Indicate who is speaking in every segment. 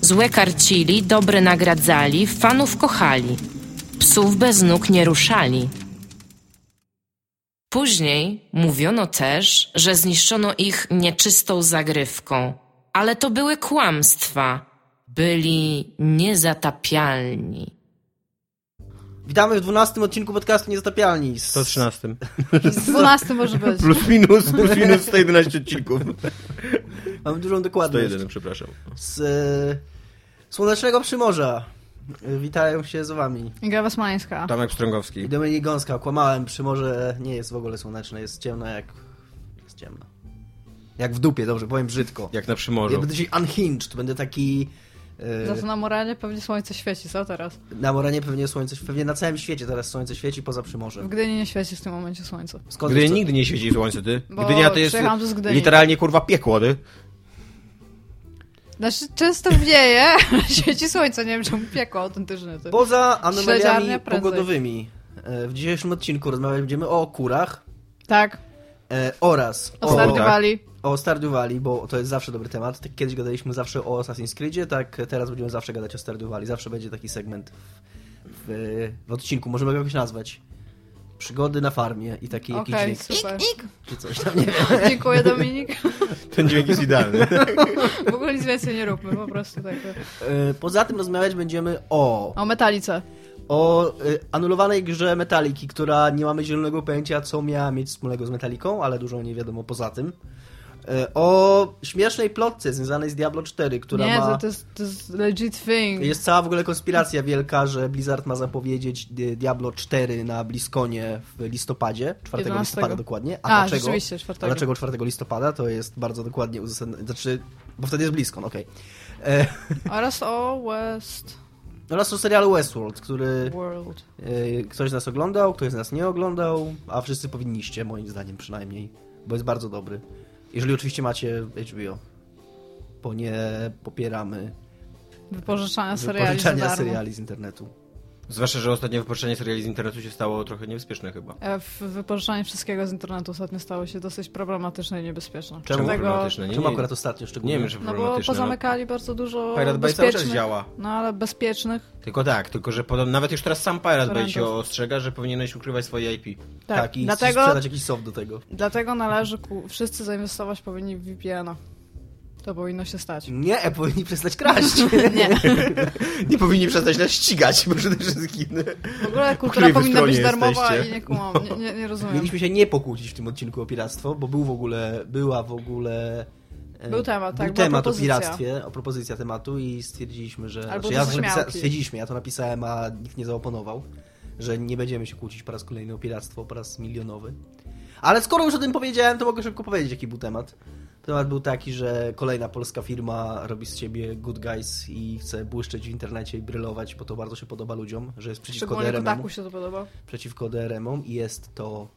Speaker 1: Złe karcili, dobre nagradzali, fanów kochali. Psów bez nóg nie ruszali. Później mówiono też, że zniszczono ich nieczystą zagrywką, ale to były kłamstwa. Byli niezatapialni.
Speaker 2: Witamy w 12 odcinku podcastu Niezatapialni. Z...
Speaker 3: 113.
Speaker 4: 12 może być.
Speaker 3: Plus minus, plus minus 111 odcinków.
Speaker 2: Mam dużą dokładność.
Speaker 3: 101, przepraszam.
Speaker 2: Z e, Słonecznego Przymorza. E, Witają się z wami.
Speaker 4: Iga Wasmańska.
Speaker 3: Tomek
Speaker 2: I
Speaker 3: Strągowski.
Speaker 2: Dominik Gąska. Kłamałem, Przymorze nie jest w ogóle słoneczne, jest ciemno jak... Jest ciemno. Jak w dupie, dobrze, powiem brzydko.
Speaker 3: Jak na
Speaker 2: Ja
Speaker 3: przymorzu.
Speaker 2: będę dzisiaj unhinged, będę taki... e,
Speaker 4: Za to na Moranie pewnie słońce świeci, co teraz?
Speaker 2: Na Moranie pewnie słońce, pewnie na całym świecie teraz słońce świeci poza
Speaker 4: W
Speaker 2: Przymorzem.
Speaker 4: Gdyni nie świeci w tym momencie słońce.
Speaker 2: Skąd
Speaker 3: Gdynia
Speaker 2: co-
Speaker 3: nigdy nie świeci słońce, ty.
Speaker 4: Bo
Speaker 3: Gdynia to jest
Speaker 4: przyjechałam tu z Gdyni.
Speaker 3: literalnie kurwa piekło, ty.
Speaker 4: Znaczy, często wieje, świeci słońce, nie wiem czemu piekło autentyczne. Ty.
Speaker 2: Poza
Speaker 4: Śledziarnia
Speaker 2: anomaliami
Speaker 4: prędzej.
Speaker 2: pogodowymi. e, W dzisiejszym odcinku rozmawiać będziemy o kurach
Speaker 4: Tak,
Speaker 2: e, oraz
Speaker 4: o Stardew Valley.
Speaker 2: O Stardew Valley, bo to jest zawsze dobry temat. Tak Kiedyś gadaliśmy zawsze o Assassin's Creedzie, tak teraz będziemy zawsze gadać o Stardew Valley. Zawsze będzie taki segment w, w, w odcinku, możemy go jakoś nazwać. Przygody na farmie i taki jakiś
Speaker 4: Okej,
Speaker 2: dźwięk
Speaker 4: super.
Speaker 2: czy coś tam, nie wiem.
Speaker 4: Dziękuję Dominik.
Speaker 3: Ten dźwięk jest idealny.
Speaker 4: W ogóle nic więcej nie róbmy, po prostu tak.
Speaker 2: E, Poza tym rozmawiać będziemy o,
Speaker 4: O metalice.
Speaker 2: o e, anulowanej grze Metaliki, która nie mamy zielonego pojęcia, co miała mieć wspólnego z Metaliką, ale dużo nie wiadomo poza tym. E, O śmiesznej plotce związanej z Diablo 4, która
Speaker 4: Nie,
Speaker 2: ma...
Speaker 4: to, to, jest, to jest legit thing.
Speaker 2: Jest cała w ogóle konspiracja wielka, że Blizzard ma zapowiedzieć Di- Diablo 4 na Bliskonie w listopadzie, 4
Speaker 4: 11.
Speaker 2: listopada dokładnie. A,
Speaker 4: A,
Speaker 2: dlaczego?
Speaker 4: rzeczywiście, 4.
Speaker 2: A dlaczego 4 listopada? To jest bardzo dokładnie uzasadnione. Znaczy, bo wtedy jest Bliskon, okej. E, no
Speaker 4: Oraz o West
Speaker 2: Oraz o serialu Westworld, który
Speaker 4: World.
Speaker 2: e, ktoś z nas oglądał, ktoś z nas nie oglądał, a wszyscy powinniście, moim zdaniem przynajmniej, bo jest bardzo dobry. Jeżeli oczywiście macie HBO, bo nie popieramy
Speaker 4: Wypożyczania seriali za
Speaker 2: wypożyczania
Speaker 4: darmo.
Speaker 2: seriali z internetu.
Speaker 3: Zwłaszcza, że ostatnie wypożyczenie seriali z internetu się stało trochę niebezpieczne chyba.
Speaker 4: E, w- Wypożyczanie wszystkiego z internetu ostatnio stało się dosyć problematyczne i niebezpieczne.
Speaker 2: Czemu
Speaker 4: Dlatego-
Speaker 3: problematyczne? No Nie,
Speaker 2: Czemu
Speaker 3: nie,
Speaker 2: akurat ostatnio szczególnie?
Speaker 3: nie wiem, że
Speaker 4: No bo
Speaker 3: problematyczne. no.
Speaker 4: pozamykali bardzo dużo
Speaker 3: Pirate Bay cały
Speaker 4: bezpiecznych,
Speaker 3: czas działa.
Speaker 4: no ale bezpiecznych,
Speaker 3: Tylko tak, tylko że podobno, nawet już teraz sam Pirate Bay
Speaker 4: Torrentów.
Speaker 3: się ostrzega, że powinieneś ukrywać swoje IP.
Speaker 4: tak,
Speaker 2: Tak, i Dlatego...
Speaker 4: dlatego,
Speaker 2: sprzedać jakiś soft do tego.
Speaker 4: dlatego należy ku, wszyscy zainwestować powinni w VPN-a. To powinno się stać.
Speaker 3: Mm.
Speaker 2: Nie, e, powinni przestać kraść.
Speaker 4: Nie,
Speaker 3: Nie powinni przestać nas ścigać, bo przede wszystkim.
Speaker 4: w ogóle kultura
Speaker 3: której wy
Speaker 4: powinna być
Speaker 3: stronie
Speaker 4: darmowa
Speaker 3: jesteście?
Speaker 4: i nie kumam, nie, nie, nie rozumiem.
Speaker 2: Mieliśmy się nie pokłócić w tym odcinku o piractwo, bo był w ogóle, była w ogóle... e,
Speaker 4: Był temat, tak,
Speaker 2: Był
Speaker 4: była
Speaker 2: temat o
Speaker 4: propozycja.
Speaker 2: piractwie, o propozycja tematu i stwierdziliśmy, że... znaczy
Speaker 4: Albo
Speaker 2: ja
Speaker 4: to
Speaker 2: to
Speaker 4: śmiałki.
Speaker 2: napisa- stwierdziliśmy, ja to napisałem, a nikt nie zaoponował, że nie będziemy się kłócić po raz kolejny o piractwo, po raz milionowy. Ale skoro już o tym powiedziałem, to mogę szybko powiedzieć, jaki był temat. Temat był taki, że kolejna polska firma robi z siebie good guys i chce błyszczeć w internecie i brylować, bo to bardzo się podoba ludziom, że jest przeciwko
Speaker 4: Szczególnie
Speaker 2: DRM-om
Speaker 4: Kotaku się to podoba.
Speaker 2: przeciwko DRM-om i jest to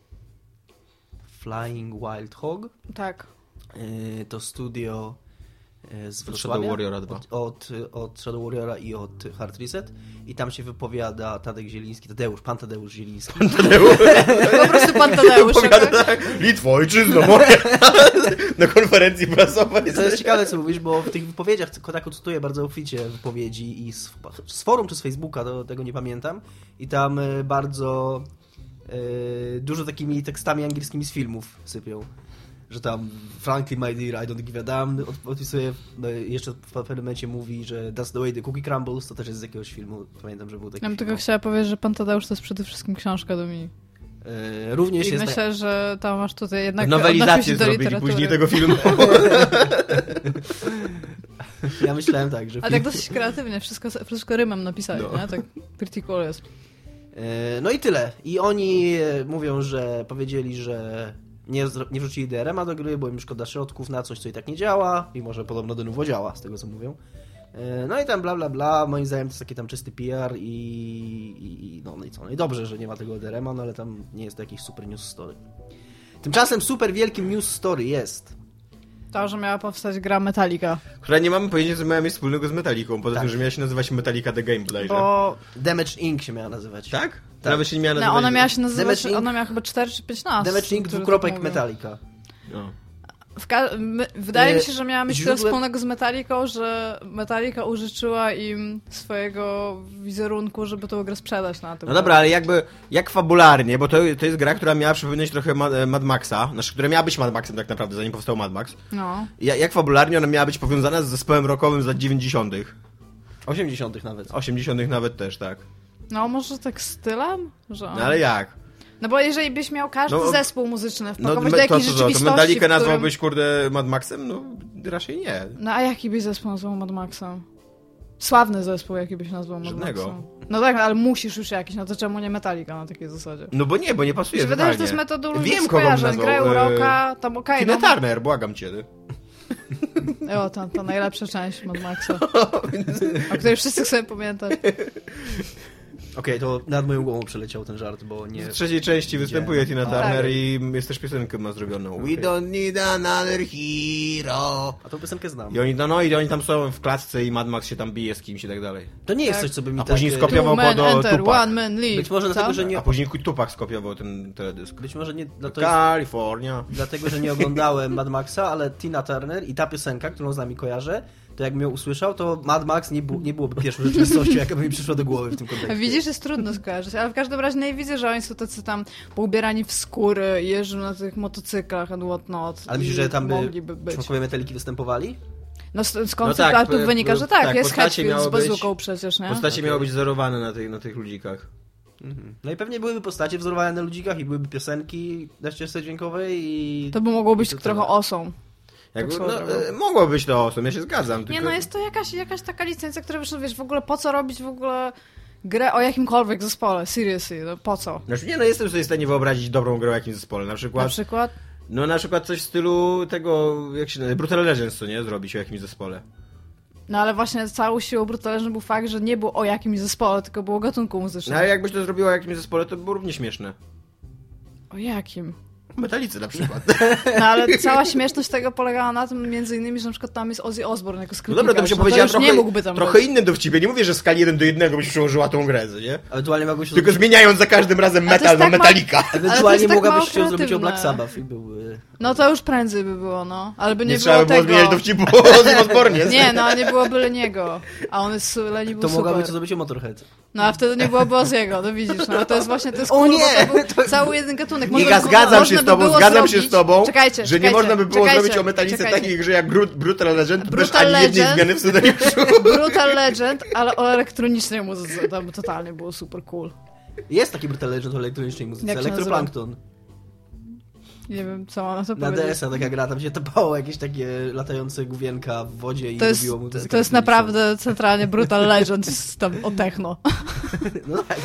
Speaker 2: Flying Wild Hog.
Speaker 4: Tak.
Speaker 2: Yy, To studio yy, z
Speaker 3: Od
Speaker 2: Wrocławia.
Speaker 3: Shadow Warriora 2.
Speaker 2: Od, od, od Shadow Warriora i od Hard Reset. I tam się wypowiada Tadek Zieliński, Tadeusz, pan Tadeusz Zieliński.
Speaker 4: Po prostu pan Tadeusz, tak?
Speaker 3: Litwo, ojczyzno moja! Na konferencji prasowej.
Speaker 2: To jest ciekawe, co mówisz, bo w tych wypowiedziach Kotaku cytuje bardzo obficie wypowiedzi i z, z forum czy z Facebooka, to, tego nie pamiętam. I tam y, bardzo y, dużo takimi tekstami angielskimi z filmów sypią. Że tam Frankly, my dear, I don't give a damn od- odpisuje, y, jeszcze w pewnym momencie mówi, że that's the way the cookie crumbles, to też jest z jakiegoś filmu, pamiętam, że był taki
Speaker 4: Ja bym tylko
Speaker 2: film.
Speaker 4: chciała powiedzieć, że pan Tadeusz to jest przede wszystkim książka do mnie.
Speaker 2: Y, Również
Speaker 4: I
Speaker 2: jest...
Speaker 4: myślę, że tam masz tutaj jednak odnosił
Speaker 3: tak- Nowelizację
Speaker 4: się do
Speaker 3: zrobili
Speaker 4: literatury.
Speaker 3: później tego filmu.
Speaker 2: Ja myślałem tak, że
Speaker 4: Ale
Speaker 2: film-
Speaker 4: tak dosyć kreatywnie, wszystko, wszystko rymem napisali,
Speaker 3: No.
Speaker 4: nie? Tak critical jest.
Speaker 2: E, No i tyle. I oni e, mówią, że powiedzieli, że nie, zro- nie wrzucili DRM-a do gry, bo im szkoda środków na coś, co i tak nie działa, mimo że podobno do nowo działa, z tego co mówią. E, No i tam bla bla bla, moim zdaniem to jest taki tam czysty PR i, i, i no, no i co, no i dobrze, że nie ma tego DRM-a, no ale tam nie jest to jakiś super news story. Tymczasem super wielkim news story jest.
Speaker 4: To, że miała powstać gra Metallica,
Speaker 3: Która nie mamy pojęcia, co miała mieć wspólnego z Metaliką, poza
Speaker 2: Tak.
Speaker 3: tym, że miała się nazywać Metallica The Game Player.
Speaker 4: bo
Speaker 2: Damage Inc. się miała nazywać.
Speaker 3: Tak? Nawet się nie miała
Speaker 4: no,
Speaker 3: nazywać...
Speaker 4: ona miała się nazywać,
Speaker 2: Damage Inc.
Speaker 4: ona miała chyba 4 czy 5 nazw.
Speaker 2: Damage Inc.
Speaker 4: które tak
Speaker 2: dwukropek
Speaker 4: mówią.
Speaker 2: Metallica.
Speaker 3: No.
Speaker 4: W ka- my, wydaje
Speaker 2: E,
Speaker 4: mi się, że miała mieć
Speaker 2: źródłem-
Speaker 4: tyle wspólnego z Metallicą, że Metallica użyczyła im swojego wizerunku, żeby tą grę sprzedać na tym.
Speaker 3: No dobra, ale jakby, jak fabularnie, bo to, to jest gra, która miała przypominać trochę Ma- e, Mad Maxa, znaczy, która miała być Mad Maxem tak naprawdę, zanim powstał Mad Max.
Speaker 4: No.
Speaker 3: Ja, jak fabularnie ona miała być powiązana z zespołem rockowym z lat 90.
Speaker 2: 80. nawet.
Speaker 3: 80. nawet też, tak.
Speaker 4: no, może tak stylem? Że
Speaker 3: No ale jak?
Speaker 4: No bo jeżeli byś miał każdy
Speaker 3: No,
Speaker 4: zespół muzyczny
Speaker 3: No
Speaker 4: wpakować do jakiejś
Speaker 3: to, to
Speaker 4: rzeczywistości,
Speaker 3: Metallica
Speaker 4: w którym...
Speaker 3: nazwałbyś, kurde, Mad Maxem? No, raczej nie.
Speaker 4: No a jaki byś zespół nazwał Mad Maxem? Sławny zespół, jaki byś nazwał Mad
Speaker 3: Żadnego.
Speaker 4: Maxem. No tak, ale musisz już jakiś, no to czemu nie Metallica na takiej zasadzie?
Speaker 3: No bo nie, bo nie pasuje
Speaker 4: Czy wydaje, że to
Speaker 3: totalnie.
Speaker 4: jest metodą ludzkich
Speaker 3: Wiem, kogo bym
Speaker 4: skojarzeń,
Speaker 3: nazwał.
Speaker 4: grają
Speaker 3: e,
Speaker 4: rocka, tam okej,
Speaker 3: Tina Turner, błagam cię.
Speaker 4: no. O, to, to najlepsza część Mad Maxa, o której wszyscy sobie pamiętać.
Speaker 2: Okej, to nad moją głową przeleciał ten żart, bo nie...
Speaker 3: W trzeciej części występuje Tina
Speaker 2: O,
Speaker 3: Turner
Speaker 4: tak.
Speaker 3: i jest też piosenkę ma zrobioną.
Speaker 2: Okej.
Speaker 3: We don't need another hero.
Speaker 2: A tą piosenkę znam.
Speaker 3: I oni, no, no i oni tam są w klatce i Mad Max się tam bije z kimś i tak dalej.
Speaker 2: To nie jest
Speaker 4: Tak.
Speaker 2: coś, co by mi
Speaker 3: A
Speaker 2: tak...
Speaker 3: później
Speaker 2: e,
Speaker 3: skopiał- Kopiował
Speaker 4: Two men
Speaker 3: Bodo
Speaker 4: enter,
Speaker 3: Tupac.
Speaker 4: one man leave.
Speaker 2: Być może
Speaker 4: Co?
Speaker 2: dlatego, że nie...
Speaker 3: A później Tupac skopiował ten teledysk.
Speaker 2: Być może nie... No to jest...
Speaker 3: Kalifornia.
Speaker 2: Dlatego, że nie oglądałem Mad Maxa, ale Tina Turner i ta piosenka, którą z nami kojarzę, to jakbym ją usłyszał, to Mad Max nie, bu- nie byłoby pierwszą rzeczywistością, jaka by mi przyszła do głowy w tym kontekście.
Speaker 4: Widzisz, jest trudno skojarzyć, ale w każdym razie no i widzę, że oni są tacy tam poubierani w skóry, jeżdżą na tych motocyklach and whatnot.
Speaker 2: Ale myślisz,
Speaker 4: i
Speaker 2: że tam by
Speaker 4: mogliby być.
Speaker 2: członkowie Metaliki występowali?
Speaker 4: No z,
Speaker 3: tak,
Speaker 4: z konceptu
Speaker 3: p-
Speaker 4: wynika,
Speaker 3: p-
Speaker 4: że tak,
Speaker 3: tak,
Speaker 4: jest
Speaker 3: postacie
Speaker 4: Hatfield z
Speaker 3: miały być-
Speaker 4: bazuką przecież, nie?
Speaker 3: Postacie miały być zerowane na tych, na tych ludzikach.
Speaker 2: No i pewnie byłyby postacie wzorowane na ludzikach i byłyby piosenki na ścieżce dźwiękowej i...
Speaker 4: To by mogło być
Speaker 2: I to
Speaker 4: trochę
Speaker 3: tak.
Speaker 2: tyle.
Speaker 4: osą.
Speaker 3: Jakby,
Speaker 4: Tak
Speaker 3: no,
Speaker 4: słowo.
Speaker 3: e, mogło być to osób, ja się zgadzam.
Speaker 4: Nie
Speaker 3: Tylko...
Speaker 4: no, jest to jakaś, jakaś taka licencja, która wyszła, wiesz, w ogóle po co robić w ogóle grę o jakimkolwiek zespole, seriously, no po co?
Speaker 3: Znaczy, nie no, jestem sobie w stanie wyobrazić dobrą grę o jakimś zespole. Na przykład,
Speaker 4: Na przykład?
Speaker 3: no na przykład coś w stylu tego, jak się nazywa, Brutal Legends, co nie, zrobić o jakimś zespole.
Speaker 4: No ale właśnie całą siłą brutalizmu był fakt, że nie był o jakimś zespole, tylko było o gatunku
Speaker 3: No ale
Speaker 4: muzycznym.
Speaker 3: jakbyś to zrobiło o jakimś zespole, to by było równie śmieszne.
Speaker 4: O jakim?
Speaker 3: Metalicy na przykład.
Speaker 4: No ale cała śmieszność tego polegała na tym między innymi, że na przykład tam jest Ozzy Osbourne jako
Speaker 3: No
Speaker 4: skrypikarz.
Speaker 3: dobra, to bym się
Speaker 4: no, to
Speaker 3: powiedziała
Speaker 4: już
Speaker 3: trochę,
Speaker 4: nie mógłby tam
Speaker 3: trochę
Speaker 4: być.
Speaker 3: innym dowcipie. Nie mówię, że w skali 1 do 1 byś przełożyła tą grę, co nie?
Speaker 2: Ewentualnie mogły się...
Speaker 3: Tylko
Speaker 2: zrobić-
Speaker 3: zmieniając za każdym razem
Speaker 4: Ale to
Speaker 3: metal
Speaker 4: jest
Speaker 3: na
Speaker 4: tak ma-
Speaker 3: metalika.
Speaker 2: Ewentualnie
Speaker 4: tak mało
Speaker 2: mogłabyś się zrobić o
Speaker 4: kreatywne.
Speaker 2: Black Sabbath i byłby...
Speaker 4: No to już prędzej by było, no. Ale by
Speaker 3: Nie,
Speaker 4: nie,
Speaker 3: trzeba
Speaker 4: było
Speaker 3: by było zmieniać
Speaker 4: tego.
Speaker 3: dowcipu o Osbornie.
Speaker 4: Nie, no nie byłoby Leniego. A on jest su- Leni był
Speaker 2: To mogłaby
Speaker 4: No, super.
Speaker 2: to zrobić o Motorhead.
Speaker 4: No a wtedy nie byłoby Oziego, no widzisz, no to jest właśnie, to jest
Speaker 2: O
Speaker 4: kurwa,
Speaker 2: nie!
Speaker 4: to był cały jeden gatunek.
Speaker 3: Nie,
Speaker 4: Można
Speaker 3: ja
Speaker 4: by-
Speaker 3: zgadzam się
Speaker 4: można
Speaker 3: z
Speaker 4: by
Speaker 3: tobą,
Speaker 4: było
Speaker 3: zgadzam się z
Speaker 4: zrobić-
Speaker 3: tobą,
Speaker 4: czekajcie,
Speaker 3: że nie
Speaker 4: czekajcie,
Speaker 3: można by było
Speaker 4: czekajcie,
Speaker 3: zrobić o Metalice
Speaker 4: czekajcie.
Speaker 3: takich grze jak Brut, Brutal Legend bez
Speaker 4: Brutal
Speaker 3: ani jednej
Speaker 4: Legend.
Speaker 3: zmiany w scenariuszu.
Speaker 4: Brutal Legend, ale o elektronicznej muzyce, tam totalnie było super cool.
Speaker 2: Jest taki Brutal Legend o elektronicznej muzyce,
Speaker 4: Jak się nazywa?
Speaker 2: Elektroplankton.
Speaker 4: Nie wiem, co mam na to
Speaker 2: Na
Speaker 4: powiedzieć.
Speaker 2: DS-a taka gra, tam się tapało jakieś takie latające główienka w wodzie i
Speaker 4: To jest,
Speaker 2: robiło mu muzykę
Speaker 4: to jest
Speaker 2: elektroniczną.
Speaker 4: naprawdę centralnie Brutal Legend z tam o techno.
Speaker 2: No tak.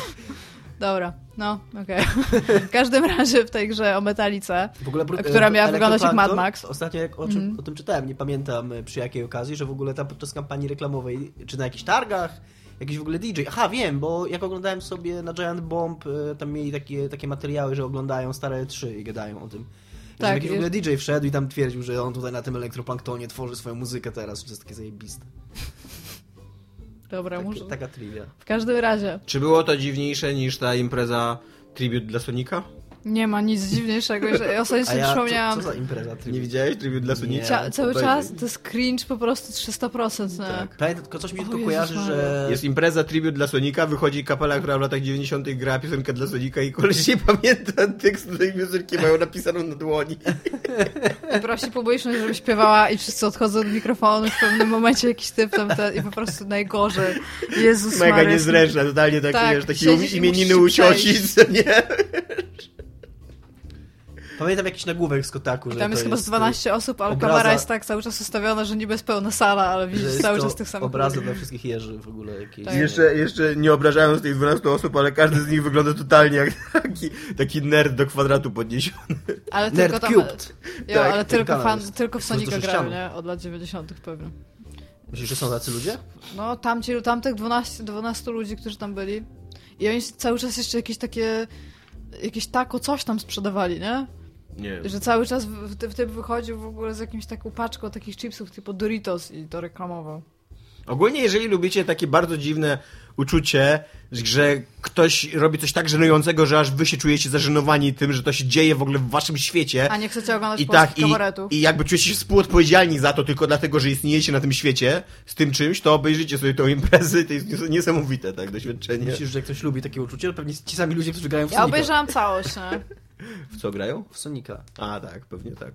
Speaker 4: Dobra, no, okej. W każdym razie w tej grze o Metalice
Speaker 2: W ogóle bru-
Speaker 4: Która
Speaker 2: e,
Speaker 4: miała
Speaker 2: Electro
Speaker 4: wyglądać jak
Speaker 2: Plankton,
Speaker 4: Mad Max. Mhm.
Speaker 2: Ostatnio jak o, czym, o tym czytałem, nie pamiętam e, przy jakiej okazji, że w ogóle tam podczas kampanii reklamowej, czy na jakichś targach, jakiś w ogóle DJ. Aha, wiem, bo jak oglądałem sobie na Giant Bomb, e, tam mieli takie, takie materiały, że oglądają stare 3 i gadają o tym.
Speaker 4: Tak,
Speaker 2: Tak, jakiś w
Speaker 4: wiesz-
Speaker 2: ogóle DJ wszedł i tam twierdził, że on tutaj na tym elektroplanktonie tworzy swoją muzykę teraz, że to jest takie zajebiste.
Speaker 4: Dobra,
Speaker 2: Tak,
Speaker 4: muszę.
Speaker 2: Taka trivia.
Speaker 4: W każdym razie
Speaker 3: Czy było to dziwniejsze niż ta impreza Tribute dla Sonika?
Speaker 4: nie ma nic dziwniejszego. że- Ostatnio
Speaker 2: A
Speaker 4: sobie
Speaker 2: ja, co,
Speaker 4: przypomniałam.
Speaker 2: co za impreza trivia?
Speaker 3: Nie widziałeś Tribute dla Sonika?
Speaker 4: Cza- cały
Speaker 3: Obejrzyj.
Speaker 4: czas to jest cringe po prostu no 300%. nie?
Speaker 3: Tak.
Speaker 2: Pamiętam, tylko coś mi
Speaker 4: O
Speaker 2: tylko
Speaker 4: Jezus
Speaker 2: kojarzy,
Speaker 4: Maria.
Speaker 2: że...
Speaker 3: Jest impreza Tribute dla Sonika, wychodzi kapela, która w latach 90. gra piosenkę dla Sonika i koleś nie pamięta tekstu tej piosenki, mają napisaną na dłoni.
Speaker 2: Tak.
Speaker 4: I prosi publiczność, żeby śpiewała i wszyscy odchodzą od mikrofonu w pewnym momencie jakiś typ tam ten, i po prostu najgorzej. Jezus
Speaker 3: Mega
Speaker 4: Maria,
Speaker 3: niezręczna, totalnie taki,
Speaker 4: Tak,
Speaker 3: wiesz, taki
Speaker 4: siedzisz i
Speaker 3: imieniny u
Speaker 4: musisz
Speaker 3: cioci, co nie?
Speaker 2: Pamiętam jakiś nagłówek z Kotaku, że
Speaker 4: Tam jest
Speaker 2: to y,
Speaker 4: chyba z 12 osób, ale
Speaker 2: obraza-
Speaker 4: kamera jest tak cały czas ustawiona, że niby jest pełna sala, ale
Speaker 2: że
Speaker 4: widzisz
Speaker 2: jest
Speaker 4: cały
Speaker 2: to
Speaker 4: czas tych samych
Speaker 2: obrazy
Speaker 4: ludzi.
Speaker 2: dla wszystkich jeży w ogóle jakieś.
Speaker 4: Tak.
Speaker 3: I Jeszcze, jeszcze nie obrażając tych 12 osób, ale każdy z nich wygląda totalnie jak taki, taki nerd do kwadratu podniesiony.
Speaker 4: Ale tylko
Speaker 2: Nerd
Speaker 4: tam.
Speaker 2: Cubed.
Speaker 4: Jo,
Speaker 3: Tak,
Speaker 4: ale
Speaker 2: ten
Speaker 4: tylko,
Speaker 2: kanał
Speaker 4: fan,
Speaker 2: jest.
Speaker 4: tylko w
Speaker 2: Są
Speaker 4: Sonika
Speaker 2: dużo
Speaker 4: grają,
Speaker 2: ścian.
Speaker 4: nie? Od lat 90. pewnie.
Speaker 2: Myślisz, że są tacy ludzie?
Speaker 4: No, tamci, tamtych 12, 12 ludzi, którzy tam byli. I oni cały czas jeszcze jakieś takie. Jakieś tako coś tam sprzedawali, nie?
Speaker 3: Nie.
Speaker 4: Że cały czas w- w- typ wychodził w ogóle z jakimś taką paczką takich chipsów typu Doritos i to reklamował.
Speaker 3: Ogólnie, jeżeli lubicie takie bardzo dziwne uczucie, że ktoś robi coś tak żenującego, że aż wy się czujecie zażenowani tym, że to się dzieje w ogóle w waszym świecie.
Speaker 4: A nie chcecie oglądać
Speaker 3: I
Speaker 4: polskich
Speaker 3: tak, i,
Speaker 4: kabaretów.
Speaker 3: i jakby czujecie się współodpowiedzialni za to tylko dlatego, że istniejecie na tym świecie z tym czymś, to obejrzyjcie sobie tą imprezę i to jest nies- niesamowite, tak, doświadczenie.
Speaker 2: Myślisz, że ktoś lubi takie uczucie? Pewnie ci sami ludzie, którzy grają w
Speaker 4: Ja
Speaker 2: Sonika.
Speaker 4: obejrzałam całość, nie?
Speaker 3: W co grają?
Speaker 2: W Sonika.
Speaker 3: A, tak, pewnie tak.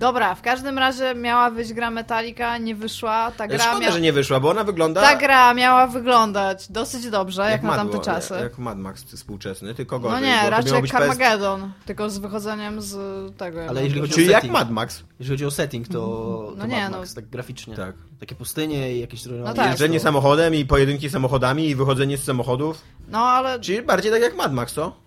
Speaker 4: Dobra, w każdym razie miała być gra Metallica, nie wyszła. Ta gra,
Speaker 3: Szkoda,
Speaker 4: mia...
Speaker 3: że nie wyszła, bo ona wygląda...
Speaker 4: ta gra miała wyglądać dosyć dobrze, jak, na tamte
Speaker 3: Madło-
Speaker 4: czasy.
Speaker 3: Jak Mad Max współczesny, tylko
Speaker 4: No
Speaker 3: gorzej. bo
Speaker 4: nie,
Speaker 3: to
Speaker 4: raczej
Speaker 3: miało
Speaker 4: jak
Speaker 3: być
Speaker 4: Carmageddon, tylko z wychodzeniem z tego.
Speaker 2: Ale jeżeli
Speaker 3: PS...
Speaker 2: chodzi
Speaker 3: Czyli
Speaker 2: o
Speaker 3: jak
Speaker 2: setting,
Speaker 3: Mad Max.
Speaker 2: jeżeli chodzi o setting, to, to
Speaker 4: No nie,
Speaker 2: Mad Max,
Speaker 4: no.
Speaker 2: tak graficznie.
Speaker 3: Tak.
Speaker 2: Takie pustynie i jakieś no
Speaker 4: tak.
Speaker 3: Jeżdżenie samochodem i pojedynki samochodami i wychodzenie z samochodów.
Speaker 4: No ale.
Speaker 3: Czyli bardziej tak jak Mad Max, co?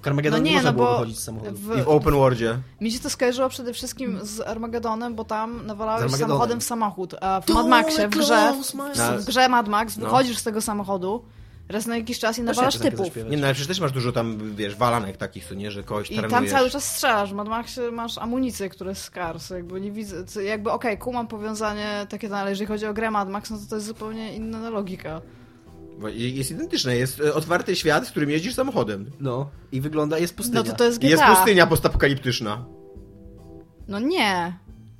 Speaker 2: W Carmageddon
Speaker 4: No
Speaker 2: nie,
Speaker 4: nie,
Speaker 2: można
Speaker 4: no
Speaker 2: było
Speaker 4: bo.
Speaker 2: wychodzić z samochodu.
Speaker 4: W...
Speaker 3: I w Open Worldzie.
Speaker 4: Mi się to skojarzyło przede wszystkim z Armagedonem, bo tam nawalałeś
Speaker 2: Armagedonem.
Speaker 4: samochodem w samochód. A w Mad Maxie, w grze,
Speaker 3: No.
Speaker 4: w grze Mad Max, wychodzisz z tego samochodu raz na jakiś czas i nawalasz
Speaker 2: tak
Speaker 4: typów.
Speaker 3: Nie, no ale przecież też masz dużo tam, wiesz, walanek takich, co nie, że kogoś
Speaker 4: I tam
Speaker 3: trenujesz.
Speaker 4: cały czas strzelasz. W Mad Maxie masz amunicję, która jest skars. Jakby nie widzę. co- Jakby okej, kumam powiązanie takie, no, ale jeżeli chodzi o grę Mad Max, no to to jest zupełnie inna logika. No,
Speaker 3: Bo i- Jest identyczne, jest e, otwarty świat, w którym jeździsz samochodem.
Speaker 2: No i wygląda, jest pustynia.
Speaker 4: No to to jest
Speaker 3: I
Speaker 4: GTA.
Speaker 3: jest pustynia postapokaliptyczna.
Speaker 4: No nie.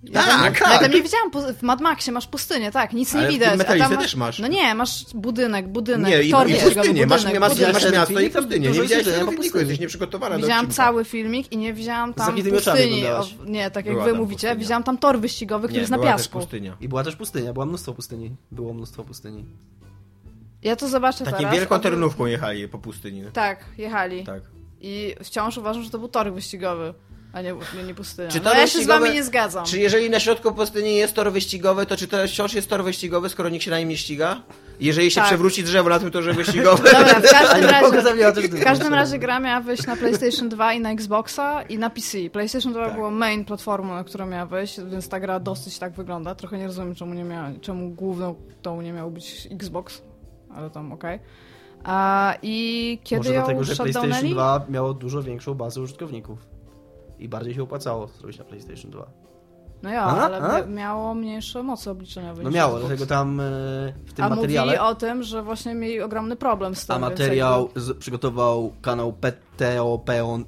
Speaker 4: Ja
Speaker 3: Tak,
Speaker 4: tam,
Speaker 3: tak.
Speaker 4: ja tam nie widziałam, pus- w Mad Maxie masz pustynię, tak, nic
Speaker 3: Ale
Speaker 4: nie
Speaker 3: w
Speaker 4: widać. a
Speaker 3: Metalice
Speaker 4: tam
Speaker 3: też masz.
Speaker 4: No nie, masz budynek, budynek,
Speaker 3: Nie, i, i
Speaker 4: tor jest
Speaker 3: pustynię,
Speaker 4: budynek,
Speaker 3: masz, masz, masz,
Speaker 4: budynek.
Speaker 3: masz miasto i pustynię. Nie
Speaker 2: Dużo jest
Speaker 3: widziałeś tego
Speaker 2: jedzenia po
Speaker 3: filmiku,
Speaker 2: pustyni.
Speaker 3: jesteś nieprzygotowana do
Speaker 4: Widziałam
Speaker 3: odcinka.
Speaker 4: cały filmik i nie widziałam tam
Speaker 2: zamkniętymi oczami
Speaker 4: pustyni.
Speaker 2: oglądałaś.
Speaker 4: O, nie, tak jak
Speaker 3: Była
Speaker 4: wy
Speaker 3: tam
Speaker 4: mówicie,
Speaker 3: pustynia.
Speaker 4: widziałam tam tor wyścigowy, który
Speaker 3: Nie,
Speaker 4: jest na
Speaker 3: była też
Speaker 4: piasku.
Speaker 3: pustynia.
Speaker 2: I była też pustynia, było mnóstwo pustyni. Było mnóstwo pustyni.
Speaker 4: Ja to zobaczę
Speaker 3: Takim
Speaker 4: teraz.
Speaker 3: wielką
Speaker 4: a-
Speaker 3: terenówką jechali po pustyni.
Speaker 4: Tak, jechali.
Speaker 3: Tak.
Speaker 4: I wciąż uważam, że to był tor wyścigowy, a nie, nie, nie pustynia.
Speaker 3: Czy
Speaker 4: Czy
Speaker 3: tor
Speaker 4: no, ja się z
Speaker 3: wyścigowy-
Speaker 4: wami nie zgadzam.
Speaker 3: Czy jeżeli na środku pustyni jest tor wyścigowy, to czy to wciąż jest tor wyścigowy, skoro nikt się na nim nie ściga? Jeżeli się
Speaker 4: Tak.
Speaker 3: przewróci drzewo na tym torze wyścigowym.
Speaker 4: Dobra, w każdym
Speaker 2: Ale Bogu
Speaker 4: razie...
Speaker 2: zabiła też
Speaker 4: W każdym razie gra miała wyjść na PlayStation 2 i na Xboxa i na PC. PlayStation
Speaker 2: Tak.
Speaker 4: 2 było main platformą, na którą miała wyjść, więc ta gra dosyć tak wygląda. Trochę nie rozumiem, czemu, nie miała, czemu główną tą nie miał być Xbox, ale tam okej. A I kiedy
Speaker 2: Może
Speaker 4: ją
Speaker 2: dlatego, że PlayStation
Speaker 4: shutdownęli?
Speaker 2: 2 miało dużo większą bazę użytkowników. I bardziej się opłacało zrobić na PlayStation 2.
Speaker 4: No ja,
Speaker 2: A?
Speaker 4: ale
Speaker 2: A?
Speaker 4: mia- miało mniejsze moce obliczeniowe.
Speaker 2: No
Speaker 4: niż
Speaker 2: miało,
Speaker 4: Xbox.
Speaker 2: dlatego tam e, w tym
Speaker 4: A mówili
Speaker 2: materiale...
Speaker 4: o tym, że właśnie mieli ogromny problem z tym.
Speaker 2: A
Speaker 4: więc
Speaker 2: materiał z, przygotował kanał PTOP, on,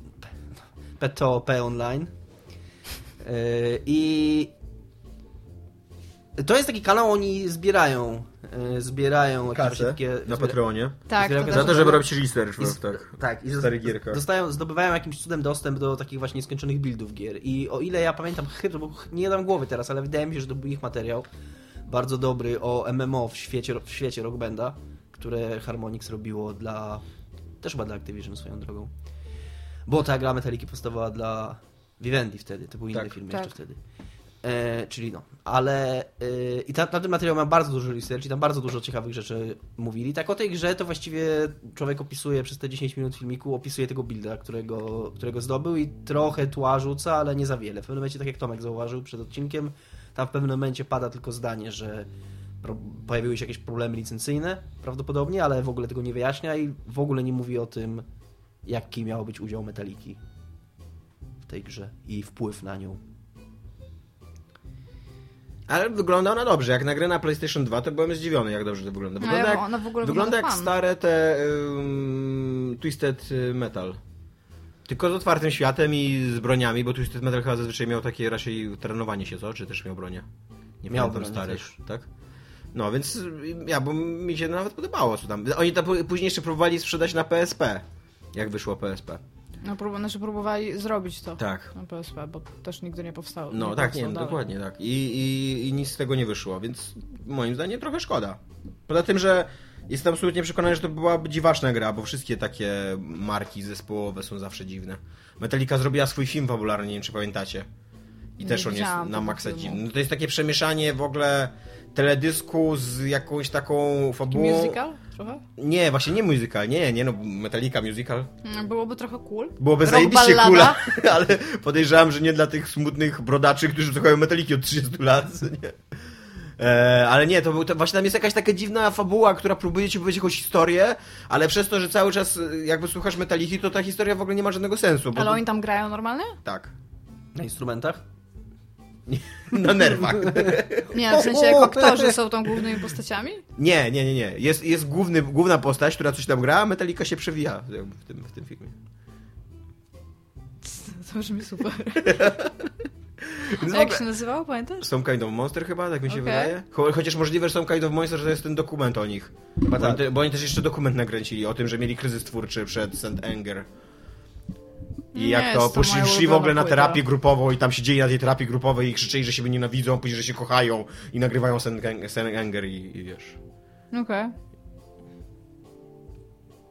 Speaker 2: PTOP Online. Yy, I to jest taki kanał, oni zbierają. Yy, zbierają jakieś
Speaker 3: Kasę
Speaker 2: takie.
Speaker 3: na
Speaker 2: zbiera-
Speaker 3: Patreonie.
Speaker 4: Tak,
Speaker 2: Za
Speaker 3: Za
Speaker 4: to też
Speaker 3: to, żeby
Speaker 4: było.
Speaker 3: robić research.
Speaker 2: z-
Speaker 3: no, tak.
Speaker 2: Tak, i
Speaker 3: starych gierkach.
Speaker 2: Dostają, zdobywają jakimś cudem dostęp do takich właśnie nieskończonych buildów gier. I o ile ja pamiętam, chyba, bo ch- nie dam głowy teraz, ale wydaje mi się, że to był ich materiał bardzo dobry o MMO w świecie, w świecie Rockbenda, które Harmonix robiło dla. też chyba dla Activision swoją drogą. Bo ta gra Metaliki powstawała dla Vivendi wtedy, to był inny
Speaker 3: Tak.
Speaker 2: film
Speaker 4: Tak.
Speaker 2: jeszcze wtedy. E, czyli no, ale e, i ta, na tym materiał mam bardzo dużo research i tam bardzo dużo ciekawych rzeczy mówili. Tak o tej grze to właściwie człowiek opisuje przez te 10 minut filmiku, opisuje tego builda, którego, którego zdobył i trochę tła rzuca, ale nie za wiele. W pewnym momencie, tak jak Tomek zauważył przed odcinkiem, tam w pewnym momencie pada tylko zdanie, że pro, pojawiły się jakieś problemy licencyjne prawdopodobnie, ale w ogóle tego nie wyjaśnia i w ogóle nie mówi o tym, jaki miał być udział Metaliki w tej grze i wpływ na nią.
Speaker 3: Ale wygląda ona dobrze. Jak na grę na PlayStation 2, to byłem zdziwiony, jak dobrze to wygląda.
Speaker 4: No
Speaker 3: Wygląda
Speaker 4: ja-
Speaker 3: jak,
Speaker 4: ona w ogóle
Speaker 3: wygląda
Speaker 4: wygląda
Speaker 3: jak
Speaker 4: fan.
Speaker 3: stare te ym, Twisted y, Metal. Tylko z otwartym światem i z broniami, bo Twisted Metal chyba zazwyczaj miał takie raczej trenowanie się, co? Czy też miał bronię? Nie
Speaker 2: Miał
Speaker 3: pamiętam
Speaker 2: bronię
Speaker 3: starych, tak? No, więc y, ja, bo mi się nawet podobało, co tam. Oni to pó- później jeszcze próbowali sprzedać na PSP, jak wyszło PSP.
Speaker 4: No, prób- znaczy próbowali zrobić to.
Speaker 3: Tak.
Speaker 4: Na PSP, No, bo też nigdy nie powstało.
Speaker 3: No tak, nie,
Speaker 4: powstał dalej.
Speaker 3: dokładnie tak. I, i, I nic z tego nie wyszło, więc moim zdaniem trochę szkoda. Poza tym, że jestem absolutnie przekonany, że to byłaby dziwaczna gra, bo wszystkie takie marki zespołowe są zawsze dziwne. Metallica zrobiła swój film fabularny, nie wiem czy pamiętacie. I
Speaker 4: Nie
Speaker 3: też on jest
Speaker 4: widziałam
Speaker 3: na
Speaker 4: tego
Speaker 3: maksa
Speaker 4: filmu.
Speaker 3: dziwny. No to jest takie przemieszanie w ogóle teledysku z jakąś taką fabułą.
Speaker 4: Musical? Trochę?
Speaker 3: Nie, właśnie nie musical, nie, nie no, Metallica musical.
Speaker 4: Mm, Byłoby trochę cool.
Speaker 3: Byłoby
Speaker 4: Rock
Speaker 3: zajebiście
Speaker 4: ballada.
Speaker 3: kula, ale podejrzewam, że nie dla tych smutnych brodaczy, którzy słuchają metaliki od 30 lat. co Nie? E, ale nie, to był, to właśnie tam jest jakaś taka dziwna fabuła, która próbuje ci powiedzieć jakąś historię, ale przez to, że cały czas e, jakby słuchasz Metaliki, to ta historia w ogóle nie ma żadnego sensu. Bo
Speaker 4: Ale oni tam grają normalnie?
Speaker 3: Tak.
Speaker 2: Na instrumentach?
Speaker 3: Na nerwach.
Speaker 4: Nie, w sensie jak aktorzy są tam głównymi postaciami?
Speaker 3: Nie, nie, nie, nie. Jest, jest główny, główna postać, która coś tam gra, a Metallica się przewija jakby w tym, w tym filmie.
Speaker 4: To brzmi super.
Speaker 3: Więc w
Speaker 4: A jak
Speaker 3: ogóle-
Speaker 4: się nazywał, pamiętasz?
Speaker 3: Some Kind of Monster chyba, tak mi się
Speaker 4: Okej.
Speaker 3: wydaje. Cho- Chociaż możliwe, że Some Kind of Monster że to jest ten dokument o nich. Bo, oni te, bo oni też jeszcze dokument nakręcili o tym, że mieli kryzys twórczy przed St. Anger. I
Speaker 4: Nie
Speaker 3: jak
Speaker 4: jest
Speaker 3: to
Speaker 4: to
Speaker 3: poszli
Speaker 4: moja
Speaker 3: szli w ogóle
Speaker 4: ulubiona
Speaker 3: na
Speaker 4: płyta.
Speaker 3: terapię grupową i tam się dzieje na tej terapii grupowej i krzyczeli, że się nienawidzą, później, że się kochają i nagrywają St. Ang- St. Anger i, i wiesz...
Speaker 4: Okej.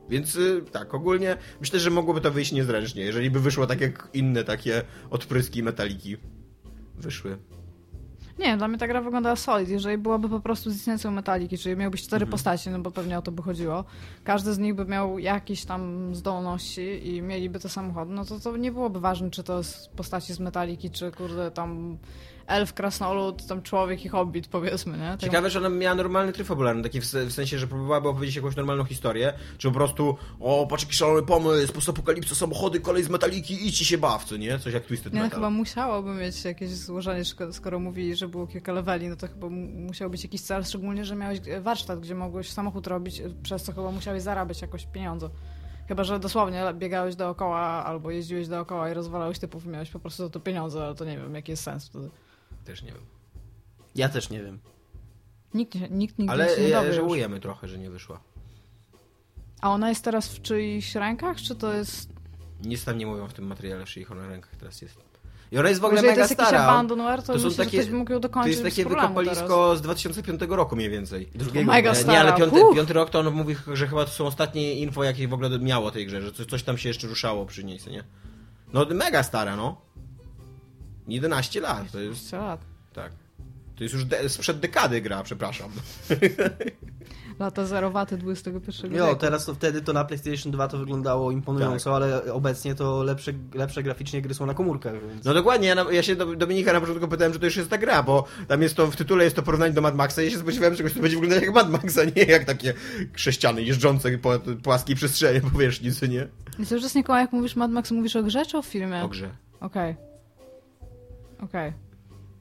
Speaker 3: Więc y, tak, ogólnie myślę, że mogłoby to wyjść niezręcznie, jeżeli by wyszło tak jak inne takie odpryski metaliki wyszły.
Speaker 4: Nie, dla mnie ta gra wyglądała solid. Jeżeli byłaby po prostu z istniejącą metaliki, czyli miałbyś cztery postacie, no bo pewnie o to by chodziło, każdy z nich by miał jakieś tam zdolności i mieliby te samochody, no to to nie byłoby ważne, czy to jest postaci z metaliki, czy kurde tam elf, krasnolud, tam człowiek i hobbit, powiedzmy, nie? Tak
Speaker 3: Ciekawe, że ona miała normalny tryb fabularny, taki w, se- w sensie, że próbowałaby opowiedzieć jakąś normalną historię, czy po prostu o, patrz jaki szalony pomysł, postapokalipsa, samochody, kolej z metaliki, idź i się baw, co nie? Coś jak Twisted
Speaker 4: Nie, no
Speaker 3: Metal.
Speaker 4: chyba musiałoby mieć jakieś złożenie, szko- skoro mówili, że było kilka leveli, no to chyba mu- musiał być jakiś cel, szczególnie, że miałeś e, warsztat, gdzie mogłeś samochód robić, e, przez co chyba musiałeś zarabiać jakoś pieniądze. Chyba, że dosłownie biegałeś dookoła albo jeździłeś dookoła i rozwalałeś typów i miałeś po prostu za to pieniądze, ale to nie wiem, jaki jest sens wtedy.
Speaker 3: Też nie wiem.
Speaker 2: Ja też nie wiem.
Speaker 4: Nikt, nie- nikt nigdy
Speaker 3: Ale
Speaker 4: się nie
Speaker 3: e,
Speaker 4: dowie już.
Speaker 3: żałujemy trochę, że nie wyszła.
Speaker 4: A ona jest teraz w czyichś rękach, czy to jest...
Speaker 3: Nic tam nie mówią w tym materiale, że ich ona na rękach teraz jest. I ona jest w ogóle
Speaker 4: Jeżeli to
Speaker 3: mega
Speaker 4: jest jakiś
Speaker 3: stara.
Speaker 4: abandonware, to,
Speaker 3: To są
Speaker 4: myślę,
Speaker 3: takie-
Speaker 4: że ktoś by mógł ją
Speaker 3: To
Speaker 4: dokończyć
Speaker 3: jest
Speaker 4: bez
Speaker 3: takie
Speaker 4: problemu teraz.
Speaker 3: wykopalisko z 2005 roku mniej więcej.
Speaker 2: Drugiego.
Speaker 4: Mega
Speaker 3: E, Nie,
Speaker 4: stara,
Speaker 3: ale piąty,
Speaker 4: uff.
Speaker 3: piąty rok to on mówi, że chyba to są ostatnie info, jakie w ogóle miało o tej grze, że coś, coś tam się jeszcze ruszało przy niej, co nie? No mega stara, no. 11 lat, to jest,
Speaker 4: 20 lat.
Speaker 3: tak. To jest już de- sprzed dekady gra, przepraszam.
Speaker 4: Lata zerowaty XXI
Speaker 2: No,
Speaker 4: wieku.
Speaker 2: teraz to wtedy to na PlayStation 2 to wyglądało imponująco,
Speaker 4: Tak.
Speaker 2: ale obecnie to lepsze, lepsze graficznie gry są na komórkach, więc...
Speaker 3: No dokładnie, ja, na, ja się do Dominika na początku pytałem, czy to już jest ta gra, bo tam jest to, w tytule jest to porównanie do Mad Maxa i ja się spodziewałem czegoś, co będzie wyglądać jak Mad Max, a nie jak takie sześciany jeżdżące po płaskiej przestrzeni, powierzchni, co nie?
Speaker 4: I cały czas Nikołaj, jak mówisz Mad Max, mówisz o grze czy o filmie?
Speaker 3: O grze.
Speaker 4: Okej. Okej.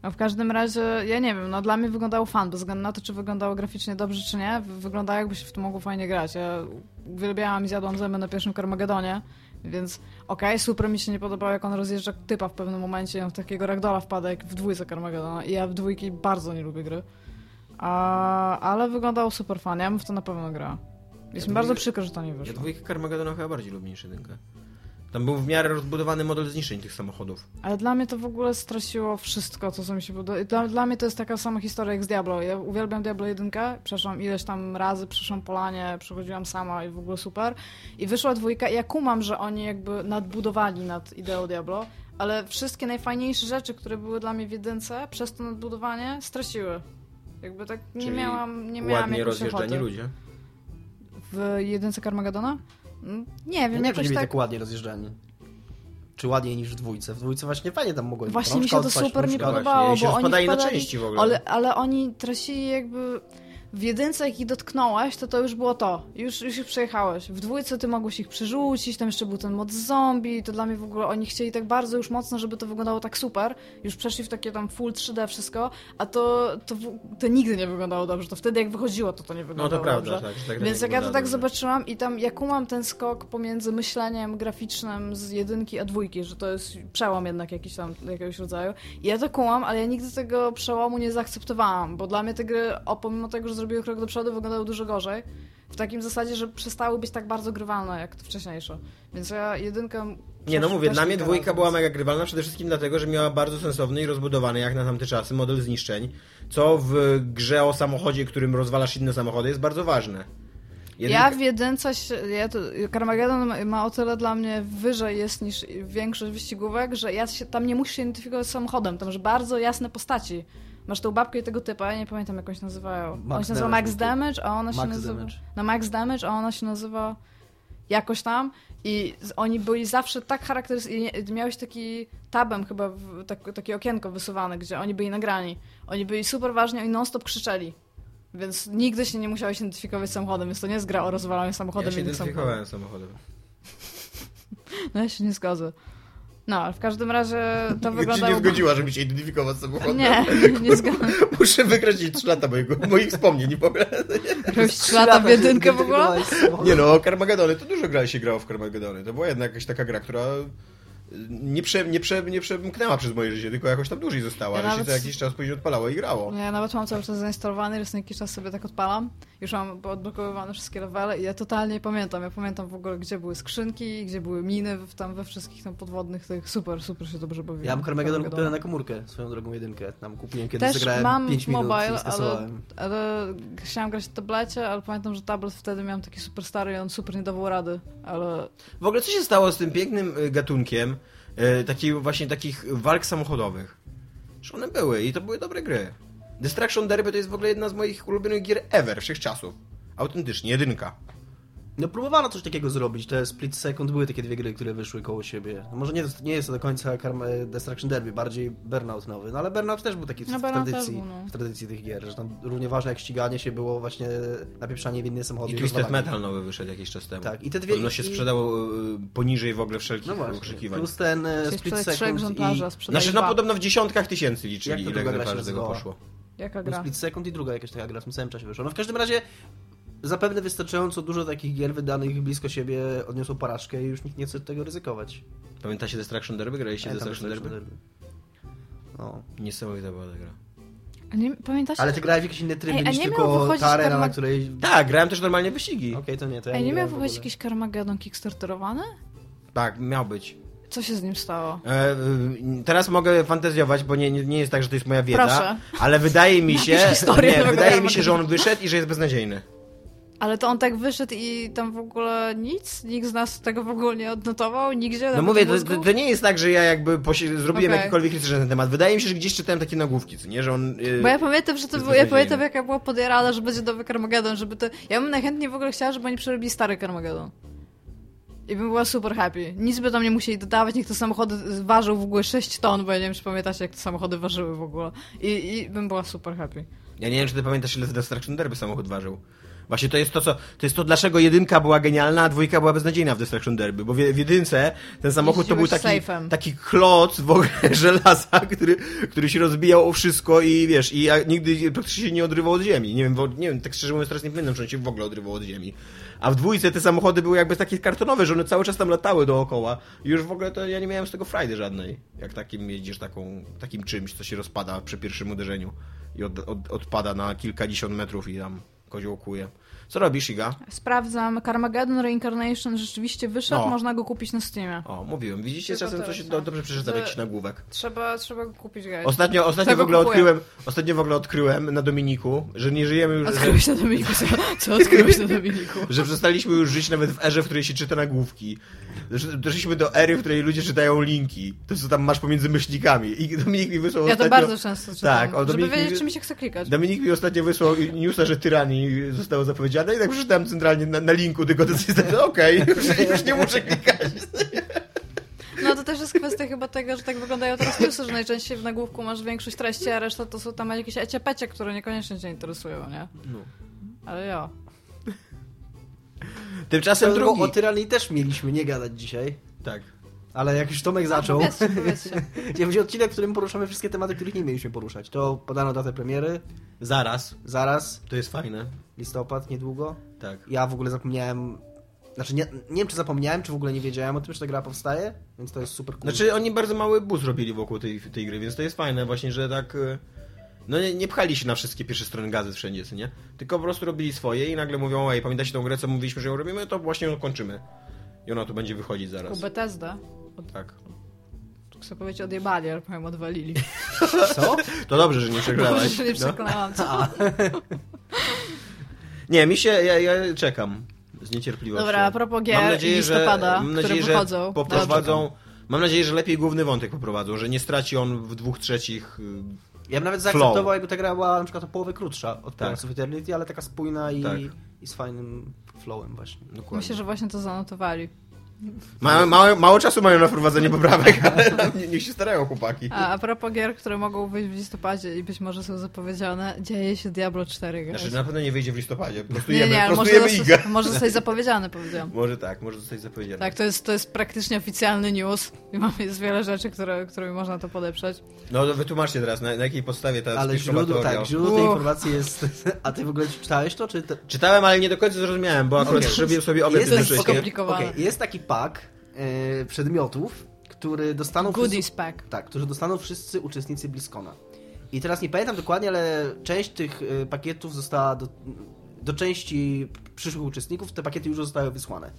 Speaker 4: A w każdym razie, ja nie wiem, no dla mnie wyglądało fan, bez względu na to, czy wyglądało graficznie dobrze, czy nie. wy- Wyglądało, jakby się w to mogło fajnie grać. Ja uwielbiałam i zjadłam zęby na pierwszym Carmagedonie, więc okej, super mi się nie podobało, jak on rozjeżdża typa w pewnym momencie, i on w takiego ragdola wpada, jak w dwójce Carmagedona. I ja w dwójki bardzo nie lubię gry. A, ale wyglądało super fan, ja bym w to na pewno grała. Jest mi bardzo przykro, że to nie
Speaker 3: Ja
Speaker 4: wyszło.
Speaker 3: dwójkę Carmagedona chyba bardziej lubię niż jedynkę. Tam był w miarę rozbudowany model zniszczeń tych samochodów.
Speaker 4: Ale dla mnie to w ogóle straciło wszystko, co co mi się podoba. Dla, dla mnie to jest taka sama historia jak z Diablo. Ja uwielbiam Diablo 1, przeszłam ileś tam razy, przeszłam polanie, przechodziłam sama i w ogóle super. I wyszła dwójka i ja kumam, że oni jakby nadbudowali nad ideą Diablo, ale wszystkie najfajniejsze rzeczy, które były dla mnie w jedynce, przez to nadbudowanie straciły. Jakby tak nie
Speaker 3: Czyli
Speaker 4: miałam, nie miałam
Speaker 3: Ładnie
Speaker 4: jakoś
Speaker 3: rozjeżdżani
Speaker 4: ochoty.
Speaker 3: ludzie.
Speaker 4: W jedynce Carmagedona? Mm, Nie
Speaker 2: Ja nie wiem,
Speaker 4: wiem,
Speaker 2: czy
Speaker 4: jakoś
Speaker 2: byli
Speaker 4: tak...
Speaker 2: tak ładnie rozjeżdżani. Czy ładniej niż w dwójce. W dwójce właśnie fajnie tam mogło
Speaker 4: Właśnie
Speaker 2: rączka
Speaker 4: mi się to
Speaker 2: odpaść,
Speaker 4: super nie
Speaker 2: rączka
Speaker 3: właśnie.
Speaker 4: podobało,
Speaker 3: I się
Speaker 4: bo oni
Speaker 3: rozpadali na
Speaker 4: wpadali,
Speaker 3: części w ogóle.
Speaker 4: Ale, ale oni tracili jakby... W jedynce jak ich dotknąłeś, to to już było to. Już, już ich przejechałeś. W dwójce ty mogłeś ich przerzucić, tam jeszcze był ten mod zombie, to dla mnie w ogóle oni chcieli tak bardzo już mocno, żeby to wyglądało tak super. Już przeszli w takie tam full 3D wszystko, a to, to, w- to nigdy nie wyglądało dobrze. To wtedy jak wychodziło, to to nie
Speaker 3: No
Speaker 4: wyglądało
Speaker 3: to prawda,
Speaker 4: dobrze.
Speaker 3: tak. że tak
Speaker 4: Więc jak
Speaker 3: dalej
Speaker 4: ja to tak
Speaker 3: wygląda, że-
Speaker 4: zobaczyłam i tam jak kumam ten skok pomiędzy myśleniem graficznym z jedynki a dwójki, że to jest przełom jednak jakiś tam, jakiegoś rodzaju. I ja to kumam, ale ja nigdy tego przełomu nie zaakceptowałam, bo dla mnie te gry, o, pomimo tego, że zrobiły krok do przodu, wyglądały dużo gorzej. W takim zasadzie, że przestały być tak bardzo grywalne jak te wcześniejsze. Więc ja jedynkę...
Speaker 3: Nie no
Speaker 4: też-
Speaker 3: mówię,
Speaker 4: też
Speaker 3: dla mnie
Speaker 4: kilka
Speaker 3: dwójka
Speaker 4: razy-
Speaker 3: była mega grywalna przede wszystkim dlatego, że miała bardzo sensowny i rozbudowany jak na tamte czasy model zniszczeń, co w grze o samochodzie, którym rozwalasz inne samochody jest bardzo ważne.
Speaker 4: Ja w jedynce, się- ja to, Carmageddon ma- ma o tyle dla mnie wyżej jest niż większość wyścigówek, że ja się, tam nie musisz się identyfikować z samochodem, tam masz bardzo jasne postaci. Masz tą babkę i tego typa, ja nie pamiętam jak oni się nazywają.
Speaker 2: Max
Speaker 4: on się nazywa
Speaker 2: Damage
Speaker 4: Max
Speaker 2: był typ.
Speaker 4: Damage, a ona się
Speaker 2: Max
Speaker 4: nazywa...
Speaker 2: Damage.
Speaker 4: No Max Damage, a ona się nazywa... jakoś tam i z- oni byli zawsze tak charakterystyczni. Miałeś taki tabem chyba, w, tak, takie okienko wysuwane, gdzie oni byli nagrani. Oni byli super ważni, oni non-stop krzyczeli. Więc nigdy się nie musiałeś identyfikować z samochodem, więc to nie jest gra o rozwalaniu samochodem
Speaker 3: Ja się
Speaker 4: innych samochodów.
Speaker 3: identyfikowałem samochodem.
Speaker 4: No ja się nie zgodzę. No, ale w każdym razie to
Speaker 3: Nigdy się
Speaker 4: wyglądało...
Speaker 3: nie zgodziła, żeby się identyfikować z samochodem.
Speaker 4: Nie, nie zgadzam.
Speaker 3: Muszę wykreślić 3 lata mojego, moich wspomnień w ogóle.
Speaker 4: Robić lata w jedynkę w ogóle?
Speaker 3: Nie no, Carmagedony, to dużo gra się grało w Carmagedony. To była jednak jakaś taka gra, która e, nie, prze, nie, prze, nie przemknęła przez moje życie, tylko jakoś tam dłużej została,
Speaker 4: Ja
Speaker 3: że się
Speaker 4: nawet-
Speaker 3: to jakiś czas później odpalało i grało.
Speaker 4: No ja nawet mam cały czas zainstalowany, więc na jakiś czas sobie tak odpalam. Już mam odblokowywane wszystkie levele i ja totalnie nie pamiętam. Ja pamiętam w ogóle, gdzie były skrzynki, gdzie były miny, w- tam we wszystkich tam podwodnych tych. Super, super się dobrze bawiłem.
Speaker 2: Ja mam Carmageddon
Speaker 4: Carmageddon.
Speaker 2: kupiony na komórkę, swoją drogą jedynkę. Tam kupiłem kiedyś,
Speaker 4: Też
Speaker 2: zagrałem
Speaker 4: mam
Speaker 2: 5 minut
Speaker 4: mobile,
Speaker 2: i
Speaker 4: ale-
Speaker 2: skasowałem.
Speaker 4: Ale chciałam grać w tablecie, ale pamiętam, że tablet wtedy miałem taki super stary i on super nie dawał rady, ale
Speaker 3: W ogóle co się stało z tym pięknym y, gatunkiem y, takiej, właśnie takich walk samochodowych? Że one były i to były dobre gry. Destruction Derby to jest w ogóle jedna z moich ulubionych gier ever, wszechczasów. Autentycznie, jedynka.
Speaker 2: No próbowano coś takiego zrobić. Te Split Second były takie dwie gry, które wyszły koło siebie. No, może nie, nie jest to do końca Karma- Destruction Derby, bardziej Burnout nowy. No ale Burnout też był taki w,
Speaker 4: No,
Speaker 2: w,
Speaker 4: Burnout też
Speaker 2: tradycji,
Speaker 4: był, no.
Speaker 2: w tradycji tych gier, że tam równie ważne jak ściganie się było właśnie napieprzanie w inne samochody.
Speaker 3: I
Speaker 2: i
Speaker 3: Twisted
Speaker 2: rozwalanie.
Speaker 3: Metal nowy wyszedł jakiś czas temu.
Speaker 2: Tak, i te dwie-
Speaker 3: Podobno się
Speaker 2: i-
Speaker 3: sprzedało y, poniżej w ogóle wszelkich
Speaker 2: No właśnie,
Speaker 3: oczekiwań.
Speaker 2: plus ten e,
Speaker 4: Czyli
Speaker 2: Split
Speaker 4: wczoraj trzech
Speaker 2: Second i...
Speaker 4: egzemplarza sprzedali
Speaker 3: Znaczy, no
Speaker 4: dwa.
Speaker 3: podobno w dziesiątkach tysięcy
Speaker 2: Jak
Speaker 3: liczyli,
Speaker 2: to
Speaker 3: ile
Speaker 2: druga gra się
Speaker 3: egzemplarzy z tego
Speaker 2: nazywała?
Speaker 3: poszło.
Speaker 4: jaka
Speaker 2: Był
Speaker 4: gra.
Speaker 2: Split Second i druga jakaś taka gra w tym samym czasie wyszła. No w każdym razie zapewne wystarczająco dużo takich gier wydanych blisko siebie odniosło porażkę i już nikt nie chce tego ryzykować.
Speaker 3: Pamiętacie Destruction Derby? Graliście
Speaker 2: Pamiętam
Speaker 3: Destruction
Speaker 2: Destruction
Speaker 3: Derby?
Speaker 2: Derby. No.
Speaker 3: Niesamowita była ta gra.
Speaker 4: A Nie, pamiętasz?
Speaker 2: Ale ty grałeś w jakiś inny tryb
Speaker 4: Ej, a
Speaker 2: niż
Speaker 4: nie miał
Speaker 2: tylko
Speaker 4: wychodzić
Speaker 2: ta arena,
Speaker 4: Karma-
Speaker 2: na której...
Speaker 3: Tak, grałem też normalnie w wyścigi.
Speaker 2: Okej, to nie, to ja
Speaker 4: Ej, nie miał
Speaker 2: grałem w
Speaker 4: wychodzić
Speaker 2: ogóle.
Speaker 4: jakiś Carmageddon kickstarterowany?
Speaker 3: Tak, miał być.
Speaker 4: Co się z nim stało?
Speaker 3: E, y, teraz mogę fantazjować, bo nie, nie, nie jest tak, że to jest moja wiedza,
Speaker 4: Proszę.
Speaker 3: ale wydaje mi się,
Speaker 4: Napisz historię
Speaker 3: nie,
Speaker 4: nowego
Speaker 3: wydaje mi
Speaker 4: Armageddonu.
Speaker 3: się, że on wyszedł i że jest beznadziejny.
Speaker 4: Ale to on tak wyszedł i tam w ogóle nic? Nikt z nas tego w ogóle nie odnotował? Nigdzie?
Speaker 3: No
Speaker 4: Nawet
Speaker 3: mówię,
Speaker 4: w
Speaker 3: to,
Speaker 4: mózgu?
Speaker 3: to, to nie jest tak, że ja jakby posi- zrobiłem
Speaker 4: Okej.
Speaker 3: jakikolwiek research na ten temat. Wydaje mi się, że gdzieś czytałem takie nagłówki, co nie, że on... y,
Speaker 4: Bo ja pamiętam, że to
Speaker 3: jest
Speaker 4: było, ja
Speaker 3: beznadziejny.
Speaker 4: pamiętam jaka była podjarada, że będzie nowy Carmageddon, żeby to... Ja bym najchętniej w ogóle chciała, żeby oni przerobili stary Carmageddon. I bym była super happy. Nic by tam nie musieli dodawać, niech te samochody ważą w ogóle 6 ton, bo ja nie wiem, czy pamiętacie, jak te samochody ważyły w ogóle. I, i bym była super happy.
Speaker 3: Ja nie wiem, czy ty pamiętasz, ile z Destruction Derby samochód ważył. Właśnie to jest to, co, to jest to, dlaczego jedynka była genialna, a dwójka była beznadziejna w Destruction Derby, bo w, w jedynce ten samochód to był
Speaker 4: Jeździłeś
Speaker 3: taki,
Speaker 4: sejfem.
Speaker 3: taki kloc w ogóle żelaza, który, który się rozbijał o wszystko i wiesz, i a, nigdy praktycznie się nie odrywał od ziemi. Nie wiem, wo- nie wiem, tak szczerze mówiąc teraz nie pamiętam, czy on się w ogóle odrywał od ziemi. A w dwójce te samochody były jakby takie kartonowe, że one cały czas tam latały dookoła i już w ogóle to ja nie miałem z tego frajdy żadnej, jak takim jeździsz taką, takim czymś, co się rozpada przy pierwszym uderzeniu i od, od, odpada na kilkadziesiąt metrów i tam koziołkuje. Co robisz, Iga?
Speaker 4: Sprawdzam, Carmageddon Reincarnation rzeczywiście wyszedł,
Speaker 3: No.
Speaker 4: można go kupić na Steamie.
Speaker 3: O, mówiłem. Widzicie,
Speaker 4: Tylko
Speaker 3: czasem
Speaker 4: to
Speaker 3: coś
Speaker 4: jest,
Speaker 3: do,
Speaker 4: no.
Speaker 3: dobrze przeczytam
Speaker 4: To-
Speaker 3: jakiś nagłówek.
Speaker 4: Trzeba, trzeba go kupić, guys.
Speaker 3: Ostatnio, ostatnio, w
Speaker 4: Tego
Speaker 3: ogóle
Speaker 4: kupuję.
Speaker 3: odkryłem, ostatnio w ogóle odkryłem na Dominiku, że nie żyjemy już... Że,
Speaker 4: Odkryłeś na Dominiku, co, co odkryłeś na Dominiku?
Speaker 3: że przestaliśmy już żyć nawet w erze, w której się czyta nagłówki. Że Doszliśmy do ery, w której ludzie czytają linki. To, co tam masz pomiędzy myślnikami. I Dominik mi wysłał
Speaker 4: Ja to
Speaker 3: ostatnio...
Speaker 4: bardzo często czytam,
Speaker 3: Tak, o,
Speaker 4: żeby
Speaker 3: Dominik mi-
Speaker 4: wiedzieć, czy mi się chce klikać.
Speaker 3: Dominik mi ostatnio wysłał newsa, że tyranii zostało zapowiedziane i tak przeczytałem centralnie na, na linku tylko to jest tak, okej, już, już nie muszę klikać.
Speaker 4: No to też jest kwestia chyba tego, że tak wyglądają teraz newsy, że najczęściej w nagłówku masz większość treści, a reszta to są tam jakieś eciapecie, które niekoniecznie cię interesują, nie?
Speaker 3: No.
Speaker 4: Ale jo.
Speaker 3: Tymczasem
Speaker 2: Bo
Speaker 3: drugi.
Speaker 2: O tyranii też mieliśmy nie gadać dzisiaj,
Speaker 3: Tak.
Speaker 2: ale jak już
Speaker 4: No,
Speaker 2: Tomek zaczął...
Speaker 4: Powiedzcie, powiedzcie.
Speaker 2: Gdzie będzie odcinek, w którym poruszamy wszystkie tematy, których nie mieliśmy poruszać. To podano datę premiery,
Speaker 3: Zaraz.
Speaker 2: zaraz,
Speaker 3: To jest fajne.
Speaker 2: listopad, niedługo.
Speaker 3: Tak.
Speaker 2: Ja w ogóle zapomniałem... Znaczy, nie, nie wiem, czy zapomniałem, czy w ogóle nie wiedziałem o tym, że ta gra powstaje, więc to jest super cool.
Speaker 3: Znaczy oni bardzo mały bus robili wokół tej, tej gry, więc to jest fajne właśnie, że tak... y, No nie, nie pchali się na wszystkie pierwsze strony gazet wszędzie, co nie? Tylko po prostu robili swoje i nagle mówią, ej, pamiętacie tą grę, co mówiliśmy, że ją robimy? To właśnie ją kończymy. I ona tu będzie wychodzić zaraz.
Speaker 4: Bethesda,
Speaker 3: Tak.
Speaker 4: tu chcę powiedzieć odjebali, ale powiem odwalili.
Speaker 3: Co? To dobrze, że nie
Speaker 4: Może
Speaker 3: przegrałeś.
Speaker 4: się nie
Speaker 3: No.
Speaker 4: przekonałam. Co?
Speaker 3: Nie, mi się, ja, ja czekam z niecierpliwością.
Speaker 4: Dobra, a propos gier
Speaker 3: mam nadzieję,
Speaker 4: i listopada,
Speaker 3: że, mam
Speaker 4: które
Speaker 3: nadzieję, że
Speaker 4: wychodzą.
Speaker 3: Poprowadzą, mam nadzieję, że lepiej główny wątek poprowadzą, że nie straci on w dwóch trzecich. y,
Speaker 2: Ja bym nawet
Speaker 3: Flow.
Speaker 2: zaakceptował, jakby ta gra była na przykład o połowę krótsza od
Speaker 3: Tak.
Speaker 2: Pirates of Eternity, ale taka spójna i,
Speaker 3: Tak.
Speaker 2: i z fajnym flowem właśnie.
Speaker 3: Dokładnie.
Speaker 4: Myślę, że właśnie to zanotowali.
Speaker 3: Ma, mało, mało czasu mają na wprowadzenie poprawek, ale no, nie- niech się starają chłopaki.
Speaker 4: A, a propos gier, które mogą wyjść w listopadzie i być może są zapowiedziane, dzieje się Diablo 4. guys.
Speaker 3: Znaczy no, na pewno nie wyjdzie w listopadzie.
Speaker 4: nie,
Speaker 3: Prostujemy,
Speaker 4: nie, ale może,
Speaker 3: prostujemy igę.
Speaker 4: zostać, może zostać zapowiedziane, powiedziałam.
Speaker 3: Może tak, może zostać zapowiedziane.
Speaker 4: Tak, to jest, to jest praktycznie oficjalny news i mamy jest wiele rzeczy, które, którymi można to podeprzeć.
Speaker 3: No to wytłumaczcie teraz, na, na jakiej podstawie ta
Speaker 2: Ale
Speaker 3: spiskowa
Speaker 2: źródło,
Speaker 3: teoria.
Speaker 2: tak, źródło tej
Speaker 4: Uch.
Speaker 2: informacji jest... A ty w ogóle czytałeś to, czy... Te...
Speaker 3: Czytałem, ale nie do końca zrozumiałem, bo akurat zrobiłem sobie obiad
Speaker 2: Jest to
Speaker 3: jednocześnie.
Speaker 4: spoko- Skomplikowane.
Speaker 2: Okej, Jest taki pack e, przedmiotów, który dostaną... wszyscy-
Speaker 4: Goodies pack.
Speaker 2: Tak, którzy dostaną wszyscy uczestnicy BlizzCona. I teraz nie pamiętam dokładnie, ale część tych y, pakietów została do, do części przyszłych uczestników, te pakiety już zostały wysłane.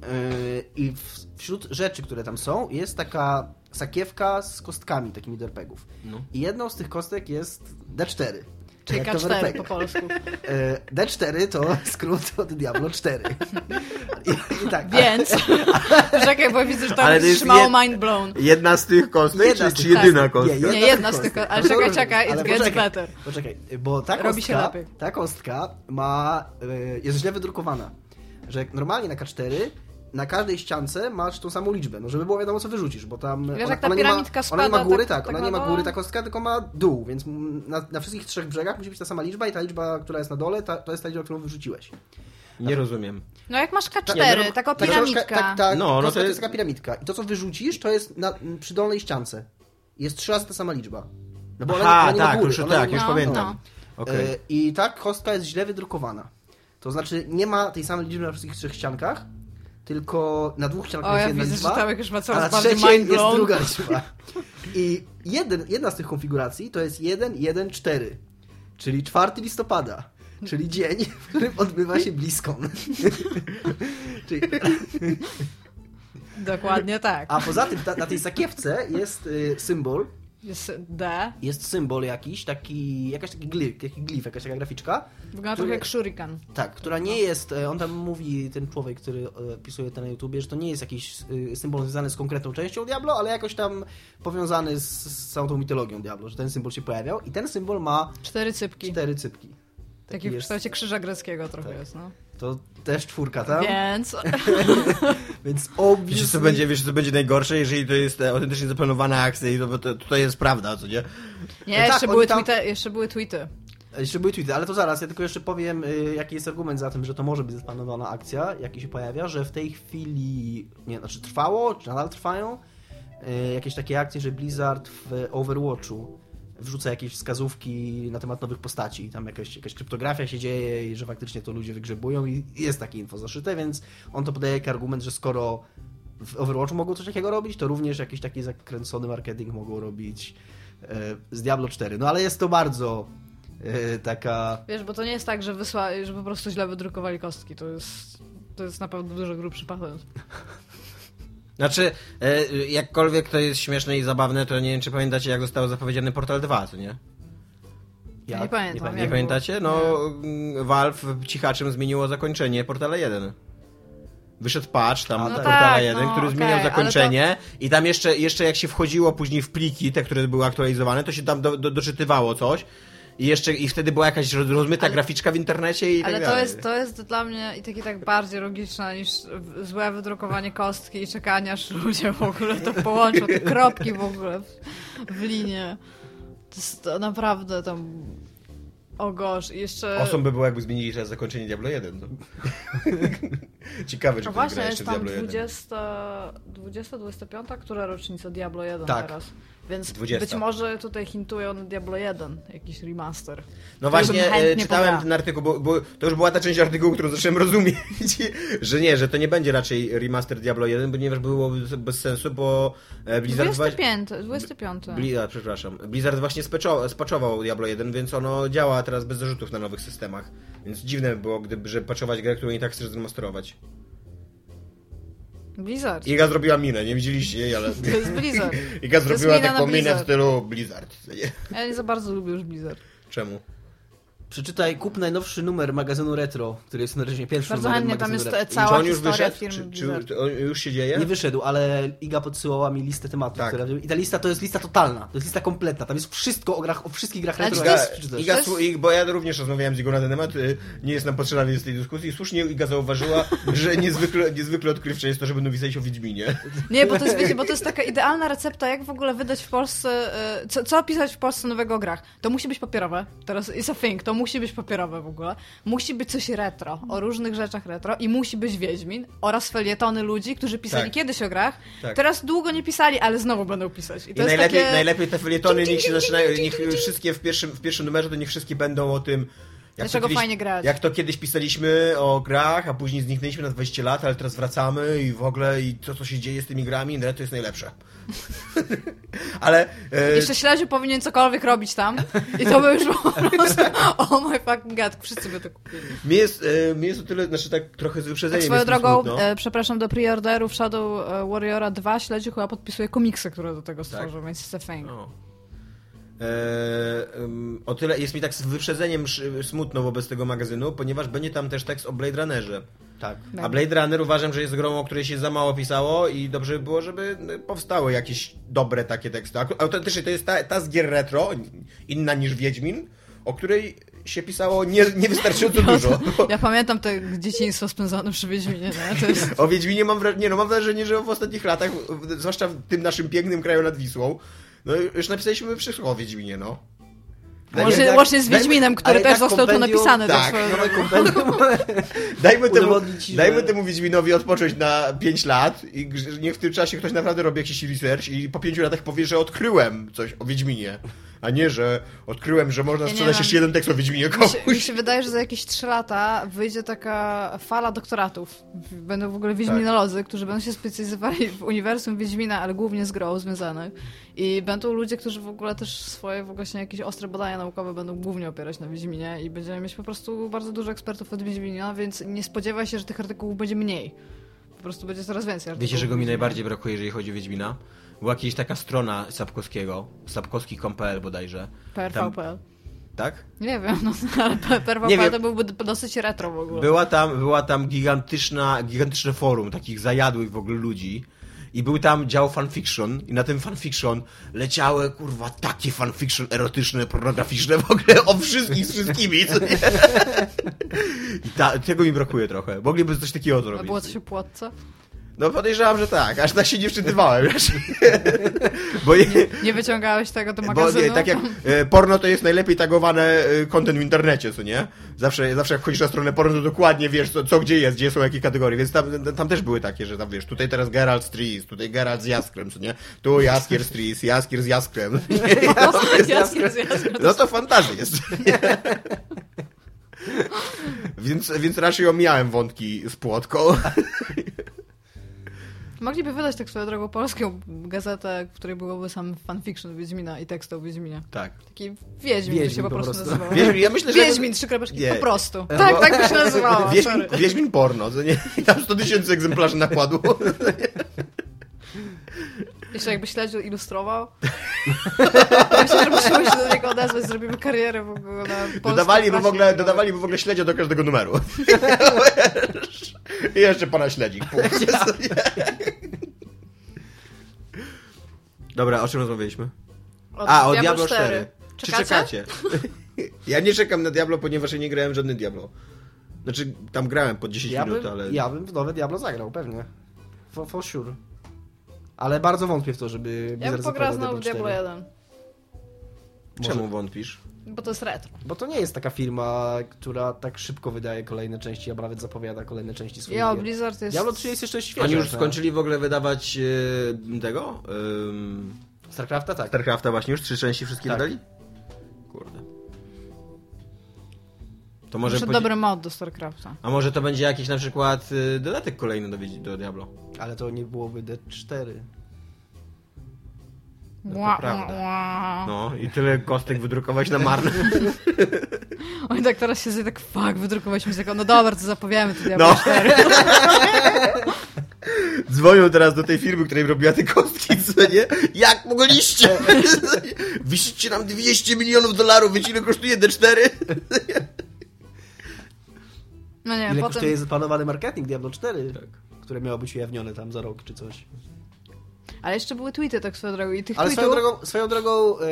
Speaker 2: Yy, I w, wśród rzeczy, które tam są, jest taka sakiewka z kostkami takimi derpegów.
Speaker 3: No.
Speaker 2: I jedną z tych kostek jest D4.
Speaker 4: Czyli
Speaker 2: Jak to w
Speaker 4: K4 po
Speaker 2: RPG-ach.
Speaker 4: polsku.
Speaker 2: E, D4 to skrót od Diablo 4. I, i tak.
Speaker 4: Więc, czekaj, bo widzę, że to
Speaker 3: Ale
Speaker 4: ale
Speaker 3: to jest
Speaker 4: trzymało
Speaker 3: jed-
Speaker 4: mind blown.
Speaker 3: Jedna z tych kostek,
Speaker 2: Jedna
Speaker 3: czy,
Speaker 2: z
Speaker 3: czy
Speaker 2: tych-
Speaker 3: jedyna
Speaker 2: tak.
Speaker 3: kostka?
Speaker 4: Nie, jedna z tych ko- ale czekaj, czekaj, it
Speaker 2: No, Ale
Speaker 4: gets better.
Speaker 2: Poczekaj, bo ta
Speaker 4: Robi się
Speaker 2: kostka,
Speaker 4: lepiej.
Speaker 2: ta kostka ma, y, jest źle wydrukowana. Że jak normalnie na K4 na każdej ściance masz tą samą liczbę, no żeby było wiadomo co wyrzucisz, bo tam
Speaker 4: Wiesz,
Speaker 2: ona,
Speaker 4: jak ta
Speaker 2: ona nie ma-
Speaker 4: piramidka
Speaker 2: ona nie ma
Speaker 4: spada,
Speaker 2: góry,
Speaker 4: tak-
Speaker 2: tak, ona
Speaker 4: tak
Speaker 2: nie
Speaker 4: na
Speaker 2: ma
Speaker 4: dole.
Speaker 2: góry ta kostka, tylko ma dół, więc mm, na, na wszystkich trzech brzegach musi być ta sama liczba i ta liczba, która jest na dole, ta, to jest ta liczba, którą wyrzuciłeś.
Speaker 3: Nie rozumiem.
Speaker 4: No jak masz
Speaker 3: Nie,
Speaker 4: K4,
Speaker 3: no,
Speaker 4: taką
Speaker 2: Ta książka-
Speaker 4: piramidka.
Speaker 2: Tak, tak.
Speaker 3: No, no
Speaker 2: No,
Speaker 3: to
Speaker 2: to
Speaker 3: jest-
Speaker 2: jest taka piramidka. I to, co wyrzucisz, to jest na, m, przy dolnej ściance. Jest trzy razy ta sama liczba. No bo
Speaker 3: Aha,
Speaker 2: ona, ona nie ma
Speaker 3: tak,
Speaker 2: góry,
Speaker 3: już-
Speaker 2: ona
Speaker 3: tak,
Speaker 2: nie
Speaker 3: już
Speaker 4: No,
Speaker 2: ma-
Speaker 3: pamiętam. Okej.
Speaker 2: E, I ta kostka jest źle wydrukowana. To znaczy, nie ma tej samej liczby na wszystkich trzech ściankach, tylko na dwóch ściankach
Speaker 4: O,
Speaker 2: jest
Speaker 4: ja
Speaker 2: jedna
Speaker 4: widzę, że
Speaker 2: liczba,
Speaker 4: Tomek już ma
Speaker 2: a na
Speaker 4: coraz bardziej
Speaker 2: trzeciej
Speaker 4: mind
Speaker 2: jest
Speaker 4: blown.
Speaker 2: druga liczba. I jeden, jedna z tych konfiguracji to jest 114, czyli 4 listopada, czyli dzień, w którym odbywa się BlizzCon. czyli
Speaker 4: Dokładnie tak.
Speaker 2: A poza tym ta, na tej sakiewce jest y, symbol,
Speaker 4: Jest D.
Speaker 2: jest symbol jakiś, taki, jakaś taki glif, taki glif, jakaś taka graficzka,
Speaker 4: Wygląda
Speaker 2: Który-
Speaker 4: trochę jak shuriken.
Speaker 2: tak, która nie jest, y, on tam mówi, ten człowiek, który y, pisuje to na YouTubie, że to nie jest jakiś y, symbol związany z konkretną częścią Diablo, ale jakoś tam powiązany z, z całą tą mitologią Diablo, że ten symbol się pojawiał i ten symbol ma
Speaker 4: Cztery cypki.
Speaker 2: cztery cypki.
Speaker 4: Taki w
Speaker 2: jest. Tak.
Speaker 4: kształcie krzyża greckiego trochę jest, no.
Speaker 2: To też czwórka, tak?
Speaker 4: Więc,
Speaker 2: Więc
Speaker 3: Wiecie co,
Speaker 2: obviously...
Speaker 3: będzie, wiecie co będzie najgorsze, jeżeli to jest e, autentycznie zaplanowana akcja i to, to, to, to jest prawda, co nie?
Speaker 4: nie,
Speaker 2: No tak,
Speaker 4: jeszcze,
Speaker 2: oni
Speaker 4: były
Speaker 2: tam-
Speaker 4: tweety, jeszcze były tweety.
Speaker 2: Jeszcze były tweety, ale to zaraz. Ja tylko jeszcze powiem, y, jaki jest argument za tym, że to może być zaplanowana akcja, jaki się pojawia, że w tej chwili, nie znaczy trwało, czy nadal trwają y, jakieś takie akcje, że Blizzard w Overwatchu wrzuca jakieś wskazówki na temat nowych postaci i tam jakaś, jakaś kryptografia się dzieje i że faktycznie to ludzie wygrzebują i jest takie info zaszyte, więc on to podaje jako argument, że skoro w Overwatchu mogą coś takiego robić, to również jakiś taki zakręcony marketing mogą robić y, z Diablo 4. No ale jest to bardzo y, taka...
Speaker 4: Wiesz, bo to nie jest tak, że wysłali, że po prostu źle wydrukowali kostki. To jest, to jest na pewno dużo grubszy patent.
Speaker 3: Znaczy, e, jakkolwiek to jest śmieszne i zabawne, to nie wiem, czy pamiętacie, jak został zapowiedziany Portal 2, co nie?
Speaker 2: Ja
Speaker 4: Nie pamiętam,
Speaker 3: Nie
Speaker 4: Jak
Speaker 3: pamiętacie?
Speaker 4: było?
Speaker 3: No, mm, Valve cichaczem zmieniło zakończenie Portala 1. Wyszedł patch tam
Speaker 2: A,
Speaker 3: no
Speaker 2: tak.
Speaker 3: Portala
Speaker 4: tak,
Speaker 3: 1,
Speaker 4: no,
Speaker 3: który
Speaker 4: okej,
Speaker 3: zmieniał
Speaker 4: ale
Speaker 3: zakończenie i tam jeszcze, jeszcze jak się wchodziło później w pliki, te, które były aktualizowane, to się tam do, do, doczytywało coś i jeszcze i wtedy była jakaś roz- rozmyta graficzka w internecie i
Speaker 4: Ale
Speaker 3: tak
Speaker 4: to
Speaker 3: dalej.
Speaker 4: jest, to jest dla mnie i tak i tak bardziej logiczne niż w- złe wydrukowanie kostki i czekanie, aż ludzie w ogóle to połączą, te kropki w ogóle w, w linie. To jest to naprawdę tam... O gosh, i jeszcze...
Speaker 3: Osą by było, jakby zmienili teraz zakończenie Diablo 1. To... Ciekawe, czy ktoś gra
Speaker 4: No właśnie,
Speaker 3: jeszcze
Speaker 4: jest
Speaker 3: w
Speaker 4: tam
Speaker 3: Diablo 1.
Speaker 4: 20, 20, 25, która rocznica Diablo 1
Speaker 2: Tak.
Speaker 4: teraz. Więc
Speaker 3: 20.
Speaker 4: być może tutaj hintują na Diablo 1, jakiś remaster.
Speaker 3: No
Speaker 4: Który bym
Speaker 3: właśnie,
Speaker 4: chętnie
Speaker 3: e, czytałem
Speaker 4: pograła.
Speaker 3: ten artykuł, bo, bo to już była ta część artykułu, którą zacząłem rozumieć, że nie, że to nie będzie raczej remaster Diablo 1, ponieważ byłoby bez- bez sensu, bo e, Blizzard... wa-
Speaker 4: 25, 25.
Speaker 3: Bli, a, przepraszam. Blizzard właśnie speczo, spaczował Diablo 1, więc ono działa teraz bez zarzutów na nowych systemach. Więc dziwne by było, gdyby, że patchować grę, którą i tak chcesz zremasterować.
Speaker 4: Blizzard.
Speaker 3: Iga zrobiła minę, nie widzieliście jej, ale...
Speaker 4: To jest Blizzard.
Speaker 3: Iga
Speaker 4: jest
Speaker 3: zrobiła
Speaker 4: mina na
Speaker 3: taką minę w
Speaker 4: Blizzard.
Speaker 3: stylu Blizzard. Nie.
Speaker 4: Ja nie za bardzo lubię już Blizzard.
Speaker 3: Czemu?
Speaker 2: Przeczytaj, kup najnowszy numer magazynu Retro, który jest na razie pierwszy
Speaker 4: Bardzo
Speaker 2: numer
Speaker 4: chętnie tam
Speaker 2: magazynu
Speaker 4: jest E
Speaker 2: Retro.
Speaker 3: Czy
Speaker 4: cała
Speaker 3: on już
Speaker 4: historia
Speaker 3: wyszedł?
Speaker 4: firmy
Speaker 3: Czy,
Speaker 4: Blizzard.
Speaker 3: czy on już się dzieje?
Speaker 2: Nie wyszedł, ale Iga podsyłała mi listę tematów,
Speaker 3: Tak.
Speaker 2: które... I ta lista to jest lista totalna, to jest lista kompletna. Tam jest wszystko o grach, o wszystkich grach
Speaker 4: Ale
Speaker 2: retro.
Speaker 4: czy to
Speaker 3: Iga,
Speaker 2: jakie
Speaker 4: jest-
Speaker 2: przeczytasz.
Speaker 3: Iga,
Speaker 4: jest-
Speaker 3: słu- Ig- bo ja również rozmawiałem z Igą na ten temat, y, nie jest nam potrzebna więc tej dyskusji. Słusznie Iga zauważyła, że niezwykle, niezwykle odkrywcze jest to, że będą wisać o Wiedźminie.
Speaker 4: Nie, bo to jest, wiecie, bo to jest taka idealna recepta, jak w ogóle wydać w Polsce, y, co, co pisać w Polsce nowego o grach. To musi być papierowe, teraz is a thing, to musi być papierowe w ogóle. Musi być coś retro, o różnych rzeczach retro i musi być Wiedźmin oraz felietony ludzi, którzy pisali
Speaker 3: Tak.
Speaker 4: kiedyś o grach,
Speaker 3: Tak.
Speaker 4: teraz długo nie pisali, ale znowu będą pisać. I
Speaker 3: I
Speaker 4: to jest
Speaker 3: najlepiej,
Speaker 4: takie...
Speaker 3: najlepiej te felietony, niech się zaczynają, niech wszystkie w pierwszym, w pierwszym numerze, to niech wszystkie będą o tym, jak
Speaker 4: Dlaczego
Speaker 3: to kiedyś,
Speaker 4: fajnie grać.
Speaker 3: Jak to kiedyś pisaliśmy o grach, a później zniknęliśmy na 20 lat, ale teraz wracamy i w ogóle i to, co się dzieje z tymi grami, no, to jest najlepsze. ale e,
Speaker 4: Jeszcze śledziu powinien cokolwiek robić tam i to by już było po prostu, oh my fucking god, wszyscy by to kupili.
Speaker 3: mi jest, e, mi jest o tyle, znaczy tak trochę z
Speaker 4: Tak
Speaker 3: wyprzedzeniem
Speaker 4: swoją
Speaker 3: jest mi
Speaker 4: drogą,
Speaker 3: smutno.
Speaker 4: e, przepraszam, do preorderów Shadow e, Warriora 2 śledziu chyba podpisuje komiksy, które do tego stworzył, więc jest a thing.
Speaker 3: Tak. O. Eee, em, o tyle jest mi tak z wyprzedzeniem sz- smutno wobec tego magazynu, ponieważ będzie tam też tekst o Blade Runnerze.
Speaker 2: Tak.
Speaker 3: A Blade Runner uważam, że jest grą, o której się za mało pisało i dobrze by było, żeby y, powstały jakieś dobre takie teksty. Ak- Autentycznie to jest ta, ta z gier retro, inna niż Wiedźmin, o której się pisało nie, niewystarczająco dużo.
Speaker 4: Ja pamiętam to dzieciństwo spędzone przy Wiedźminie, nie? To jest...
Speaker 3: O Wiedźminie mam wrażenie, nie, no mam wrażenie, że w ostatnich latach, w- zwłaszcza w tym naszym pięknym kraju nad Wisłą, no już napisaliśmy wszystko o Wiedźminie, no.
Speaker 4: Może,
Speaker 2: jednak-
Speaker 4: łącznie z
Speaker 2: daj-
Speaker 4: Wiedźminem, który
Speaker 2: ale
Speaker 4: też
Speaker 2: tak
Speaker 4: został tu
Speaker 2: kompendium-
Speaker 4: napisany.
Speaker 3: tak.
Speaker 4: też swoją
Speaker 2: Nowe
Speaker 4: drogą.
Speaker 2: kompendium.
Speaker 3: Dajmy temu,
Speaker 2: Udowodnić ci, że-
Speaker 3: dajmy temu Wiedźminowi odpocząć na 5 lat i grz- niech w tym czasie ktoś naprawdę robi jakiś research i po 5 latach powie, że odkryłem coś o Wiedźminie, a nie, że odkryłem, że można
Speaker 4: Ja nie
Speaker 3: sprzedać
Speaker 4: mam-
Speaker 3: jeszcze jeden tekst o Wiedźminie
Speaker 4: Mi
Speaker 3: komuś.
Speaker 4: się, mi się wydaje, że za jakieś 3 lata wyjdzie taka fala doktoratów. Będą w ogóle wiedźminolodzy,
Speaker 3: Tak.
Speaker 4: którzy będą się specjalizowali w uniwersum Wiedźmina, ale głównie z grą związanych. I będą ludzie, którzy w ogóle też swoje właśnie jakieś ostre badania naukowe będą głównie opierać na Wiedźminie i będziemy mieć po prostu bardzo dużo ekspertów od Wiedźmina, więc nie spodziewaj się, że tych artykułów będzie mniej. Po prostu będzie coraz więcej artykułów.
Speaker 3: Wiecie, czego mi najbardziej brakuje, jeżeli chodzi o Wiedźmina? Była kiedyś taka strona Sapkowskiego, sapkowski.pl bodajże.
Speaker 4: PRVPL.
Speaker 3: Tak?
Speaker 4: Nie wiem, no, ale
Speaker 3: Nie
Speaker 4: PRVPL
Speaker 3: wiem.
Speaker 4: to byłby dosyć retro w ogóle.
Speaker 3: Była tam, była tam gigantyczna, gigantyczne forum takich zajadłych w ogóle ludzi. I był tam dział fanfiction i na tym fanfiction leciały, kurwa, takie fanfiction erotyczne, pornograficzne w ogóle o wszystkich z wszystkimi. co nie? I ta, tego mi brakuje trochę. Mogliby coś takiego
Speaker 4: A
Speaker 3: zrobić.
Speaker 4: było coś o płotce?
Speaker 3: No podejrzewam, że tak. Aż tak się nie wczytywałem. raczej. Bo, je,
Speaker 4: Nie wyciągałeś tego do
Speaker 3: bo
Speaker 4: magazynu?
Speaker 3: nie, tak jak e, porno to jest najlepiej tagowane e, content w internecie, co nie? Zawsze, zawsze jak wchodzisz na stronę porno, to dokładnie wiesz, co, co gdzie jest, gdzie są jakie kategorie, więc tam, tam też były takie, że tam wiesz, tutaj teraz Geralt z Tris, tutaj Geralt z Jaskrem, co nie? Tu Jaskier z Tris, Jaskier z Jaskrem.
Speaker 4: Jasne, No, tak, jasne, jasne.
Speaker 3: No to fantazja jest. Więc, więc raczej omijałem wątki z płotką.
Speaker 4: Mogliby wydać tak swoją drogą polską gazetę, w której byłoby sam fanfiction Wiedźmina i tekst o Wiedźminie.
Speaker 3: Tak.
Speaker 4: Taki Wiedźmin, to
Speaker 2: Wiedźmin
Speaker 4: się po
Speaker 2: po
Speaker 4: prostu,
Speaker 2: prostu.
Speaker 4: nazywało.
Speaker 3: Wiedźmin, ja myślę, że...
Speaker 4: Wiedźmin, trzy kropeczki,
Speaker 3: Nie.
Speaker 4: po prostu.
Speaker 2: E,
Speaker 4: tak,
Speaker 3: bo-
Speaker 4: tak by się nazywało,
Speaker 3: Wiedźmin,
Speaker 4: sorry.
Speaker 3: Wiedźmin porno, co nie? I tam 100 tysięcy egzemplarzy nakładu.
Speaker 4: Jeszcze jakby śledził, ilustrował. Myślę, że musimy się do niego odezwać, zrobimy karierę w ogóle na polskiej
Speaker 3: Dodawaliby w,
Speaker 4: prasie
Speaker 3: ogóle,
Speaker 4: filmowej.
Speaker 3: dodawaliby w ogóle śledzia do każdego numeru. I jeszcze pana śledzik. punkt. Dobra, o czym rozmawialiśmy? A, o Diablo 4. Czy
Speaker 4: Czekacie?
Speaker 3: czekacie? ja nie czekam na Diablo, ponieważ ja nie grałem w żadne Diablo. Znaczy, tam grałem po 10
Speaker 2: Ja
Speaker 3: minut,
Speaker 2: bym,
Speaker 3: ale...
Speaker 2: ja bym w nowe Diablo zagrał, pewnie. For, for sure. Ale bardzo wątpię w to, żeby
Speaker 4: Ja bym
Speaker 2: Blizzard
Speaker 4: pograł
Speaker 2: zapowiadał
Speaker 4: znowu w Diablo 1,
Speaker 3: Czemu wątpisz?
Speaker 4: bo to jest retro.
Speaker 2: Bo to nie jest taka firma, która tak szybko wydaje kolejne części, a nawet zapowiada kolejne części swoich
Speaker 4: Ja,
Speaker 2: gier.
Speaker 4: Blizzard jest...
Speaker 2: Diablo 3 jest jeszcze świeże.
Speaker 3: Oni już
Speaker 2: tak.
Speaker 3: skończyli w ogóle wydawać e, tego? Ym,
Speaker 2: StarCrafta tak.
Speaker 3: StarCrafta właśnie już trzy części wszystkie
Speaker 2: Tak.
Speaker 3: wydali? Kurde. To może
Speaker 4: Może
Speaker 3: podzi-
Speaker 4: dobry mod do StarCrafta.
Speaker 3: A może to będzie jakiś na przykład y, dodatek kolejny do, Wiedzi- do Diablo?
Speaker 2: Ale to nie byłoby D4.
Speaker 3: No to
Speaker 4: Ła,
Speaker 3: prawda.
Speaker 4: ła, ła.
Speaker 3: No i tyle kostek wydrukować na marne.
Speaker 4: Oj, tak teraz no się zje, tak fuck, wydrukowaliśmy z tego, no dobra, to zapowiemy to Diablo
Speaker 3: No.
Speaker 4: 4.
Speaker 3: Dzwonią teraz do tej firmy, której robiła te kostki, co nie? Jak mogliście? Wisicie nam 200 milionów dolarów, wiecie ile kosztuje D4?
Speaker 4: No nie,
Speaker 2: Ile
Speaker 4: potem...
Speaker 2: kosztuje zaplanowany marketing Diablo 4,
Speaker 3: Tak.
Speaker 2: które miało być ujawnione tam za rok czy coś.
Speaker 4: Ale jeszcze były tweety tak swoją drogą i tych
Speaker 2: Ale swoją
Speaker 4: tweetów...
Speaker 2: drogą, swoją drogą e,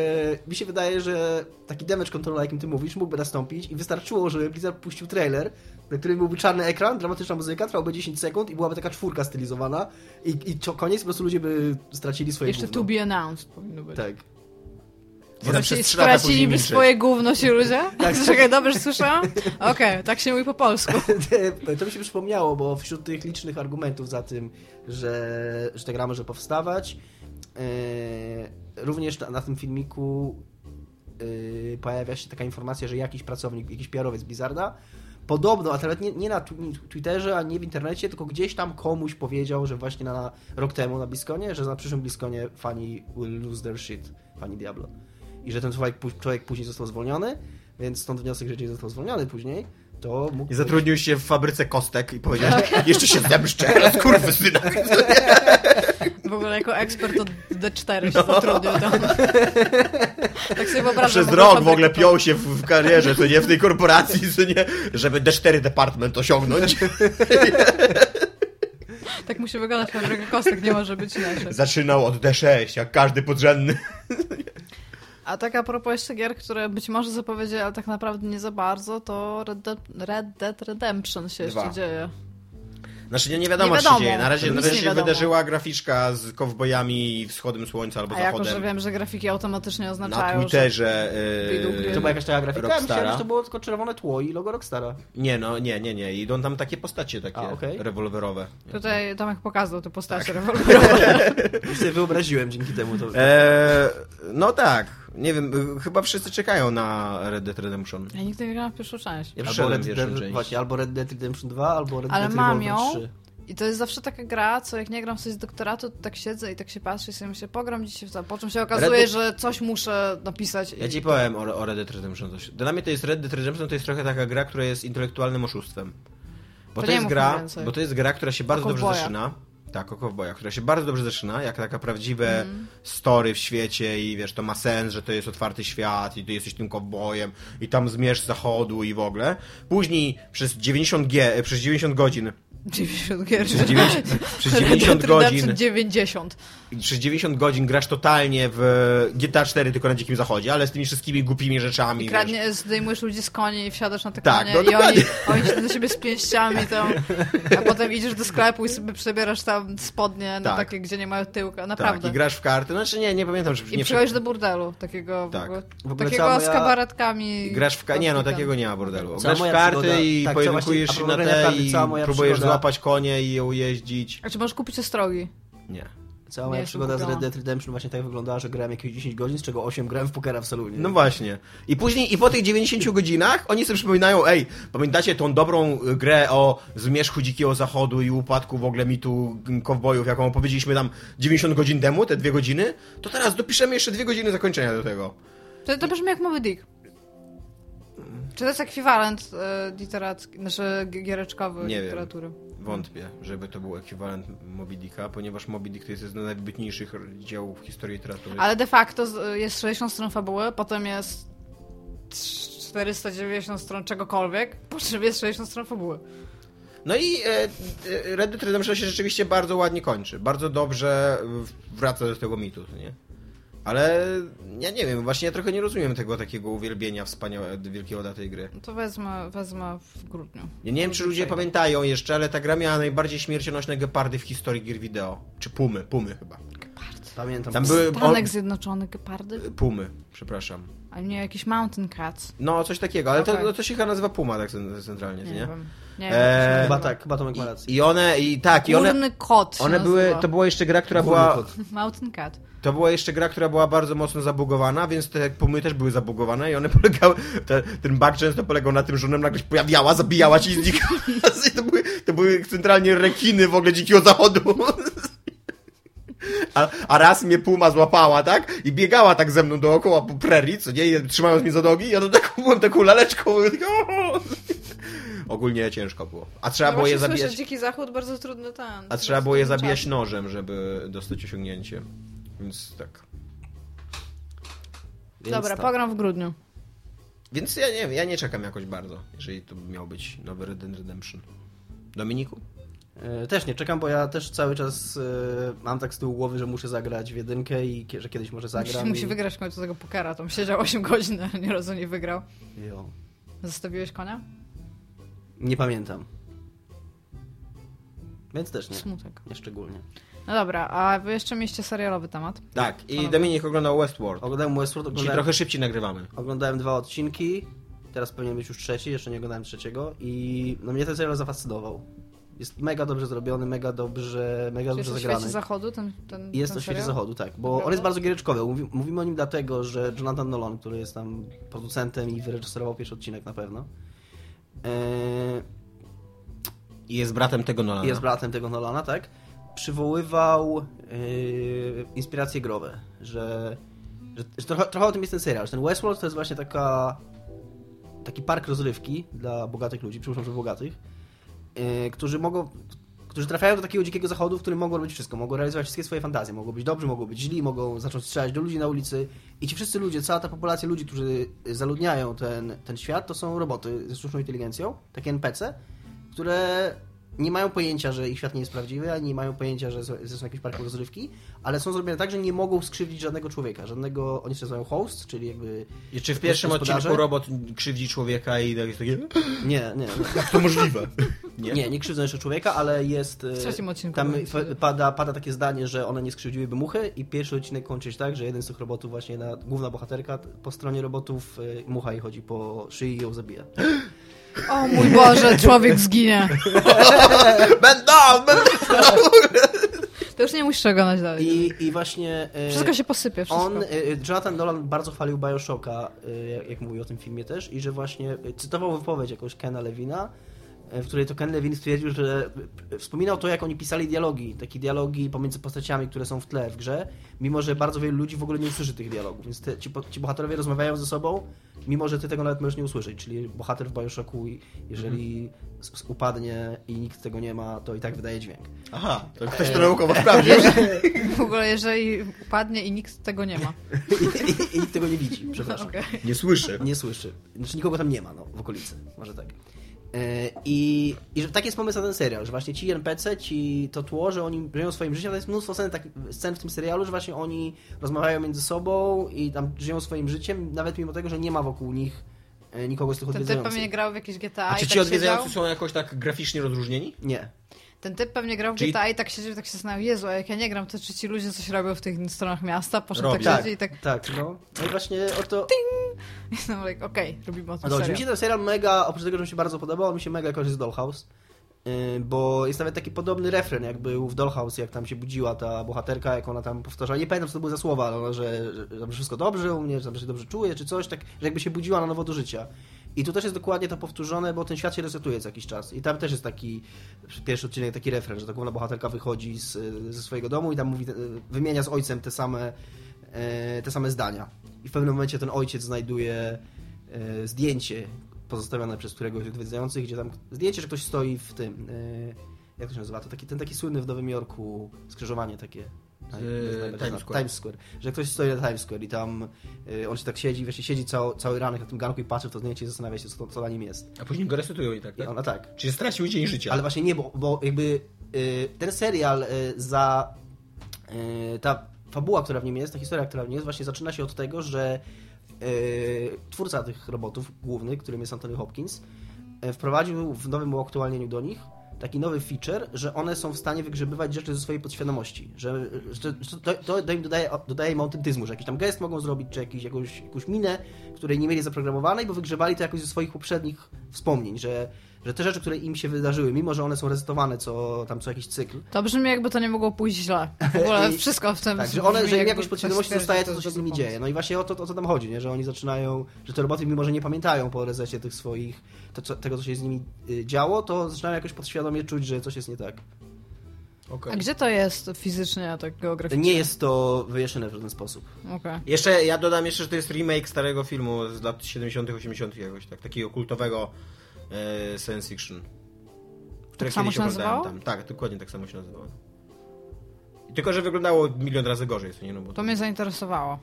Speaker 2: mi się wydaje, że taki damage control, o jakim ty mówisz, mógłby nastąpić i wystarczyło, żeby Blizzard puścił trailer, na którym byłby czarny ekran, dramatyczna muzyka, trwałby 10 sekund i byłaby taka czwórka stylizowana i, i co koniec po prostu ludzie by stracili swoje
Speaker 4: Jeszcze
Speaker 2: gówno.
Speaker 4: to be announced powinno być.
Speaker 2: Tak.
Speaker 3: Potem
Speaker 4: Znaczy,
Speaker 3: przez trzy lata później
Speaker 4: straciliby
Speaker 3: milczeć.
Speaker 4: swoje gówno ci ludzie?
Speaker 2: Tak.
Speaker 4: Czekaj, dobrze słyszałam? Okej, tak się mówi po polsku.
Speaker 2: to mi się przypomniało, bo wśród tych licznych argumentów za tym, że, że ta gra może powstawać, e, również na, na tym filmiku e, pojawia się taka informacja, że jakiś pracownik, jakiś PR-owiec Blizzarda podobno, a nawet nie, nie na tw- nie w Twitterze, ani nie w internecie, tylko gdzieś tam komuś powiedział, że właśnie na rok temu na Bliskonie, że na przyszłym Bliskonie fani will lose their shit, fani Diablo. I że ten człowiek, pó- człowiek później został zwolniony, więc stąd wniosek, że nie został zwolniony później, to mógł...
Speaker 3: I zatrudnił się w fabryce kostek i powiedział, że jeszcze się zemszczę, raz kurwy syna.
Speaker 4: W ogóle jako ekspert od D4 się zatrudnił tam. Tak sobie wyobrażam.
Speaker 3: No. Przez
Speaker 4: bo
Speaker 3: rok
Speaker 4: to tak-
Speaker 3: w ogóle
Speaker 4: fabryka-
Speaker 3: piął się w, w karierze, co nie, w tej korporacji, co nie, żeby D4 department osiągnąć.
Speaker 4: Tak musi wyglądać fabryka kostek, nie może być inaczej.
Speaker 3: Zaczynał od D6, jak każdy podrzędny.
Speaker 4: A tak a propos jeszcze gier, które być może zapowiedzieli, ale tak naprawdę nie za bardzo, to Red Dead, Red Dead Redemption się
Speaker 3: Dwa.
Speaker 4: jeszcze dzieje.
Speaker 3: Znaczy nie, nie wiadomo,
Speaker 4: Nie
Speaker 3: co
Speaker 4: wiadomo.
Speaker 3: się dzieje. Na razie, na
Speaker 4: Nic
Speaker 3: razie
Speaker 4: nie
Speaker 3: się
Speaker 4: wiadomo.
Speaker 3: wydarzyła graficzka z kowbojami wschodem słońca albo
Speaker 4: A jako,
Speaker 3: zachodem.
Speaker 4: że wiem, że grafiki automatycznie
Speaker 3: na
Speaker 4: oznaczają, że
Speaker 3: Twitterze. e,
Speaker 4: Wyjdą gry.
Speaker 2: To była jakaś taka grafika? Ja myślałem,
Speaker 3: Rockstara.
Speaker 2: że to było tylko czerwone tło i logo Rockstara.
Speaker 3: Nie, no, nie, nie, nie. Idą tam takie postacie takie
Speaker 2: A, okej.
Speaker 3: rewolwerowe.
Speaker 4: tutaj Tomek pokazał te postacie
Speaker 3: Tak.
Speaker 4: rewolwerowe.
Speaker 2: Już sobie wyobraziłem dzięki temu to.
Speaker 3: Eee, no tak. Nie wiem, y, chyba wszyscy czekają na Red Dead Redemption.
Speaker 4: Ja nigdy nie grałam w pierwszą część.
Speaker 3: Ja
Speaker 2: Albo
Speaker 3: wszedłem w
Speaker 2: Red,
Speaker 3: pierwszą
Speaker 2: Dead,
Speaker 3: część.
Speaker 2: właśnie, albo Red Dead Redemption 2, albo Red
Speaker 4: Ale
Speaker 2: Dead
Speaker 4: mam
Speaker 2: Revolver
Speaker 4: ją.
Speaker 2: 3.
Speaker 4: I to jest zawsze taka gra, co jak nie gram w coś z doktoratu, to tak siedzę i tak się patrzę i sobie myślę, pogram dzisiaj w to. Po czym się okazuje,
Speaker 3: Red-
Speaker 4: że coś muszę napisać.
Speaker 3: Ja
Speaker 4: i-
Speaker 3: ci powiem o, o Red Dead Redemption coś. Dla mnie to jest Red Dead Redemption to jest trochę taka gra, która jest intelektualnym oszustwem. Bo to,
Speaker 4: To nie
Speaker 3: jest
Speaker 4: mów mi
Speaker 3: gra,
Speaker 4: więcej.
Speaker 3: bo to jest gra, która się bardzo dobrze
Speaker 4: kowboja.
Speaker 3: zaczyna. Tak, o kowboja, która się bardzo dobrze zaczyna, jak taka prawdziwe
Speaker 4: Mhm.
Speaker 3: story w świecie i wiesz, to ma sens, że to jest otwarty świat i ty jesteś tym kowbojem i tam zmierz z zachodu i w ogóle. Później przez 90 G, przez 90 godzin,
Speaker 4: 90 gier.
Speaker 3: przez 90, przez 90 godzin
Speaker 4: 90.
Speaker 3: przez 90 godzin grasz totalnie w GTA 4 tylko na dzikim zachodzie, ale z tymi wszystkimi głupimi rzeczami.
Speaker 4: I
Speaker 3: wiesz.
Speaker 4: kradnie, zdejmujesz ludzi z koni i wsiadasz na te
Speaker 3: Tak,
Speaker 4: konie
Speaker 3: no
Speaker 4: i oni,
Speaker 3: dokładnie.
Speaker 4: oni się do siebie z pięściami tam, a potem idziesz do sklepu i sobie przebierasz tam spodnie na
Speaker 3: Tak.
Speaker 4: takie, gdzie nie mają tyłka,
Speaker 3: Tak,
Speaker 4: naprawdę.
Speaker 3: i grasz w karty. Znaczy nie, nie pamiętam, że
Speaker 4: I
Speaker 3: nie
Speaker 4: przychodzisz do burdelu, takiego
Speaker 3: Tak.
Speaker 4: w ogóle,
Speaker 2: W ogóle
Speaker 4: takiego
Speaker 2: cała
Speaker 4: z
Speaker 2: moja-
Speaker 4: kabaretkami.
Speaker 3: Grasz w ka- Nie, no
Speaker 4: Tam.
Speaker 3: takiego nie ma bordelu.
Speaker 2: Cała
Speaker 3: Grasz
Speaker 2: moja
Speaker 3: w karty
Speaker 2: przygoda-
Speaker 3: i
Speaker 2: tak, cała
Speaker 3: pojedynkujesz
Speaker 2: właśnie-
Speaker 3: się
Speaker 2: a
Speaker 3: na
Speaker 2: propos
Speaker 3: te
Speaker 2: naprawdę
Speaker 3: i
Speaker 2: cała moja
Speaker 3: próbujesz
Speaker 2: przygoda-
Speaker 3: złapać konie i je ujeździć.
Speaker 4: A czy możesz kupić ostrogi?
Speaker 3: Nie.
Speaker 2: Cała
Speaker 4: Nie,
Speaker 2: moja
Speaker 4: jestem
Speaker 2: przygoda z
Speaker 4: kupiona.
Speaker 2: Red Dead Redemption właśnie tak wyglądała, że grałem jakieś 10 godzin, z czego 8 grałem w pokera w salonie.
Speaker 3: No właśnie. I później, i po tych 90 godzinach oni sobie przypominają, ej, pamiętacie tą dobrą y, grę o zmierzchu dzikiego zachodu i upadku w ogóle mitu mm, kowbojów, jaką opowiedzieliśmy tam 90 godzin temu, te dwie godziny? To teraz dopiszemy jeszcze dwie godziny zakończenia do tego.
Speaker 4: To, to brzmi jak Moby Dick. Czy to jest ekwiwalent e, literacki, znaczy g- giereczkowy
Speaker 3: Nie wiem.
Speaker 4: literatury?
Speaker 3: Wątpię, żeby to był ekwiwalent Moby Dicka, ponieważ Moby Dick to jest jeden z najwybitniejszych dzieł w historii literatury.
Speaker 4: Ale de facto z- jest 60 stron fabuły, potem jest 490 stron czegokolwiek, po czym jest 60 stron fabuły.
Speaker 3: No i e, e, Red Dead Redemption się rzeczywiście bardzo ładnie kończy. Bardzo dobrze w- wraca do tego mitu, nie? Ale ja nie wiem, właśnie ja trochę nie rozumiem tego takiego uwielbienia wspaniałe, wielkiego dla tej gry.
Speaker 4: To wezmę, wezmę w grudniu.
Speaker 3: Ja nie wiem, czy ludzie pamiętają jeszcze, ale ta gra miała najbardziej śmiercionośne gepardy w historii gier wideo. Czy pumy, pumy chyba.
Speaker 2: Pamiętam.
Speaker 3: Tam były... o-
Speaker 4: Stanek Zjednoczony, gepardy,
Speaker 3: E, pumy, przepraszam.
Speaker 4: a nie jakiś mountain cats.
Speaker 3: No, coś takiego, ale
Speaker 4: Okej.
Speaker 3: to, to się chyba nazywa puma tak cen- centralnie,
Speaker 4: Nie,
Speaker 3: nie?
Speaker 4: wiem. Nie
Speaker 3: Eee,
Speaker 4: wiem.
Speaker 2: Chyba tak, chyba Tomek ma rację.
Speaker 3: I, I one, i tak, i one...
Speaker 4: Górny kot się
Speaker 3: One były,
Speaker 4: nazywa.
Speaker 3: to była jeszcze gra, która
Speaker 2: Górny
Speaker 3: była...
Speaker 2: kot.
Speaker 4: Mountain cat.
Speaker 3: To była jeszcze gra, która była bardzo mocno zabugowana, więc te pumy też były zabugowane i one polegały. Te, ten bug często polegał na tym, że ona nagle się pojawiała, zabijała ci i znikała. I To były, to były centralnie rekiny w ogóle dzikiego zachodu. A, a raz mnie puma złapała, tak? I biegała tak ze mną dookoła po prerii, co nie? I trzymając mnie za nogi, ja to taką byłem taką laleczką. i tak, o! Ogólnie ciężko było. A trzeba
Speaker 5: No
Speaker 3: było je
Speaker 5: właśnie słyszę,
Speaker 3: zabijać.
Speaker 5: Dziki Zachód bardzo trudny ten.
Speaker 3: A trzeba było je zabijać nożem, żeby dostać osiągnięcie. Więc tak.
Speaker 2: Więc
Speaker 4: Dobra,
Speaker 2: tak.
Speaker 4: pogram w grudniu.
Speaker 3: Więc ja nie wiem, ja nie czekam jakoś bardzo, jeżeli to miał być nowy Red Dead Redemption. Dominiku?
Speaker 2: E, Też nie czekam, bo ja też cały czas e, mam tak z tyłu głowy, że muszę zagrać w jedynkę i kie- że kiedyś może
Speaker 4: Musi,
Speaker 2: zagram.
Speaker 4: musi
Speaker 2: i...
Speaker 4: wygrać w końcu tego pokera, tam siedział 8 godzin, ale nie razu nie wygrał.
Speaker 2: Jo.
Speaker 4: Zostawiłeś konia?
Speaker 2: Nie pamiętam. Więc też nie.
Speaker 4: Smutek.
Speaker 2: Nie szczególnie.
Speaker 4: No dobra, a wy jeszcze mieliście serialowy temat.
Speaker 3: Tak, i Dominik oglądał Westworld.
Speaker 2: Oglądałem Westworld,
Speaker 3: Dzisiaj
Speaker 2: oglądałem,
Speaker 3: trochę szybciej nagrywamy.
Speaker 2: oglądałem dwa odcinki, teraz powinien być już trzeci, jeszcze nie oglądałem trzeciego i no mnie ten serial zafascynował. Jest mega dobrze zrobiony, mega dobrze, mega
Speaker 4: Czy jest
Speaker 2: dobrze
Speaker 4: o świecie
Speaker 2: zagrany.
Speaker 4: zachodu ten, ten
Speaker 2: Jest
Speaker 4: ten
Speaker 2: to świecie
Speaker 4: serial?
Speaker 2: zachodu, tak, bo
Speaker 4: Dobra.
Speaker 2: on jest bardzo giereczkowy. Mówi, mówimy o nim dlatego, że Jonathan Nolan, który jest tam producentem i wyreżyserował pierwszy odcinek na pewno, e,
Speaker 3: I jest bratem tego Nolana.
Speaker 2: jest bratem tego Nolana, tak, przywoływał yy, inspiracje growe, że, że, że trochę, trochę o tym jest ten serial, że ten Westworld to jest właśnie taka taki park rozrywki dla bogatych ludzi, przepraszam, że bogatych, yy, którzy mogą którzy trafiają do takiego dzikiego zachodu, w którym mogą robić wszystko, mogą realizować wszystkie swoje fantazje, mogą być dobrzy, mogą być źli, mogą zacząć strzelać do ludzi na ulicy i ci wszyscy ludzie, cała ta populacja ludzi, którzy zaludniają ten, ten świat, to są roboty ze sztuczną inteligencją, takie NPC, które nie mają pojęcia, że ich świat nie jest prawdziwy, ani nie mają pojęcia, że są- że są jakieś parki rozrywki, ale są zrobione tak, że nie mogą skrzywdzić żadnego człowieka, żadnego, oni się nazywają host, czyli jakby...
Speaker 3: I czy w pierwszym
Speaker 2: gospodarze?
Speaker 3: odcinku robot krzywdzi człowieka i tak jest takie...
Speaker 2: Nie, nie, nie.
Speaker 3: Jak to możliwe?
Speaker 2: Nie, nie, krzywdzą jeszcze człowieka, ale jest. e,
Speaker 4: W trzecim odcinku
Speaker 2: Tam
Speaker 4: byliśmy.
Speaker 2: fa- pada, pada takie zdanie, że one nie skrzywdziłyby muchy, i pierwszy odcinek kończy się tak, że jeden z tych robotów, właśnie na, główna bohaterka, t- po stronie robotów e, mucha jej chodzi po szyi i ją zabija.
Speaker 4: No O mój Boże, człowiek zginie.
Speaker 3: Będą! będą!
Speaker 4: To już nie musisz oglądać dalej.
Speaker 2: I, i właśnie. e,
Speaker 4: Wszystko się posypie, wszystko.
Speaker 2: On, e, e, Jonathan Nolan bardzo chwalił Bioshocka, e, jak- jak mówił o tym filmie też, i że właśnie e, cytował wypowiedź jakąś Kena Levina, e, w której to Ken Levin stwierdził, że e, wspominał to, jak oni pisali dialogi, takie dialogi pomiędzy postaciami, które są w tle w grze, mimo że bardzo wielu ludzi w ogóle nie usłyszy tych dialogów, więc te, ci, po- ci bohaterowie rozmawiają ze sobą, mimo że ty tego nawet możesz nie usłyszeć, czyli bohater w Bioshocku, i- jeżeli
Speaker 4: Mhm.
Speaker 2: s- s- upadnie i nikt tego nie ma, to i tak wydaje dźwięk.
Speaker 3: Aha, to
Speaker 2: E,
Speaker 3: ktoś to naukowo sprawdził.
Speaker 4: W ogóle, jeżeli upadnie i nikt tego nie ma.
Speaker 2: I, i, i nikt tego nie widzi, przepraszam.
Speaker 4: Okej.
Speaker 3: Nie słyszę.
Speaker 2: Nie słyszy. Znaczy nikogo tam nie ma, no, w okolicy. Może tak. Yy, I, I że taki jest pomysł na ten serial, że właśnie ci NPC, ci to tło, że oni żyją swoim życiem, to jest mnóstwo scen, tak, scen w tym serialu, że właśnie oni rozmawiają między sobą i tam żyją swoim życiem, nawet mimo tego, że nie ma wokół nich e, nikogo z tych
Speaker 4: Ten typ pewnie
Speaker 2: odwiedzających.
Speaker 4: grał w jakieś GTA
Speaker 3: A
Speaker 4: i
Speaker 3: czy
Speaker 4: tak
Speaker 3: ci odwiedzający
Speaker 4: siedział.
Speaker 3: są jakoś tak graficznie rozróżnieni?
Speaker 2: Nie.
Speaker 4: Ten typ pewnie grał w
Speaker 3: Czyli-
Speaker 4: GTA i tak siedział i tak się zastanawiał, Jezu, a jak ja nie gram, to czy ci ludzie coś robią w tych stronach miasta? Poszedł
Speaker 3: Robią.
Speaker 4: tak
Speaker 2: Tak,
Speaker 4: siedzieć i tak,
Speaker 2: tak, no. No i właśnie o to...
Speaker 4: i tam like, okej, robimy o tym
Speaker 2: No,
Speaker 4: serial.
Speaker 2: mi się ten serial mega, oprócz tego, że mi się bardzo podobał, on mi się mega kojarzy z Dollhouse. Yy, Bo jest nawet taki podobny refren, jak był w Dollhouse, jak tam się budziła ta bohaterka, jak ona tam powtarzała. Nie pamiętam, co to były za słowa, ale ona, że, że tam wszystko dobrze u mnie, że tam się dobrze czuję, czy coś, tak, że jakby się budziła na nowo do życia. I tu też jest dokładnie to powtórzone, bo ten świat się resetuje co jakiś czas. I tam też jest taki pierwszy odcinek, taki refren, że ta główna bohaterka wychodzi z, ze swojego domu i tam mówi, e, wymienia z ojcem te same, e, te same zdania. I w pewnym momencie ten ojciec znajduje e, zdjęcie pozostawione przez któregoś z odwiedzających, gdzie tam zdjęcie, że ktoś stoi w tym, e, jak to się nazywa, to taki, ten taki słynny w Nowym Jorku skrzyżowanie takie.
Speaker 3: Yy,
Speaker 2: Nie znam, jak to się
Speaker 3: Times
Speaker 2: nazywa.
Speaker 3: Square.
Speaker 2: Times Square. Że ktoś stoi na Times Square i tam e, on się tak siedzi, wiesz, siedzi cały, cały ranek na tym ganku i patrzy w to zdjęcie i zastanawia się, co, to- co na nim jest.
Speaker 3: A później go resetują i tak,
Speaker 2: I
Speaker 3: tak?
Speaker 2: ona tak,
Speaker 3: Czyli stracił dzień życia.
Speaker 2: ale właśnie nie, bo, bo jakby y, ten serial y, za. y, ta fabuła, która w nim jest, ta historia, która w nim jest, właśnie zaczyna się od tego, że y, twórca tych robotów główny, którym jest Anthony Hopkins, y, wprowadził w nowym uaktualnieniu do nich taki nowy feature, że one są w stanie wygrzebywać rzeczy ze swojej podświadomości, że, że że to, to, to im dodaje, dodaje im autentyzmu, że jakiś tam gest mogą zrobić, czy jakiś, jakąś, jakąś minę, której nie mieli zaprogramowanej, bo wygrzebali to jakoś ze swoich poprzednich wspomnień, że, że te rzeczy, które im się wydarzyły, mimo że one są resetowane co, tam co jakiś cykl,
Speaker 4: To brzmi jakby to nie mogło pójść źle. W ogóle
Speaker 2: I-
Speaker 4: wszystko w tym
Speaker 2: tak, że
Speaker 4: brzmi
Speaker 2: one, że im
Speaker 4: jakby
Speaker 2: jakoś
Speaker 4: ktoś
Speaker 2: podświadomości
Speaker 4: stwierdził,
Speaker 2: zostaje
Speaker 4: to
Speaker 2: to, co
Speaker 4: jest
Speaker 2: się z
Speaker 4: dobry
Speaker 2: nimi
Speaker 4: pomysł.
Speaker 2: dzieje. No i właśnie o to, o to tam chodzi, nie? że oni zaczynają, że te roboty, mimo że nie pamiętają po rezesie tych swoich, to, co, tego, co się z nimi y, działo, to zaczynają jakoś podświadomie czuć, że coś jest nie tak.
Speaker 3: Okej.
Speaker 4: A gdzie to jest fizycznie, a tak geograficznie?
Speaker 2: Nie jest to wyjaśnione w żaden sposób.
Speaker 4: Okej.
Speaker 3: Jeszcze, ja dodam jeszcze, że to jest remake starego filmu z lat 70 80 jakoś, tak, takiego kultowego e, science fiction. które
Speaker 4: Tak samo
Speaker 3: kiedyś
Speaker 4: się
Speaker 3: oglądałem
Speaker 4: nazywało?
Speaker 3: Tam. Tak, dokładnie tak samo się nazywało. Tylko, że wyglądało milion razy gorzej, co nie no bo
Speaker 4: To mnie zainteresowało.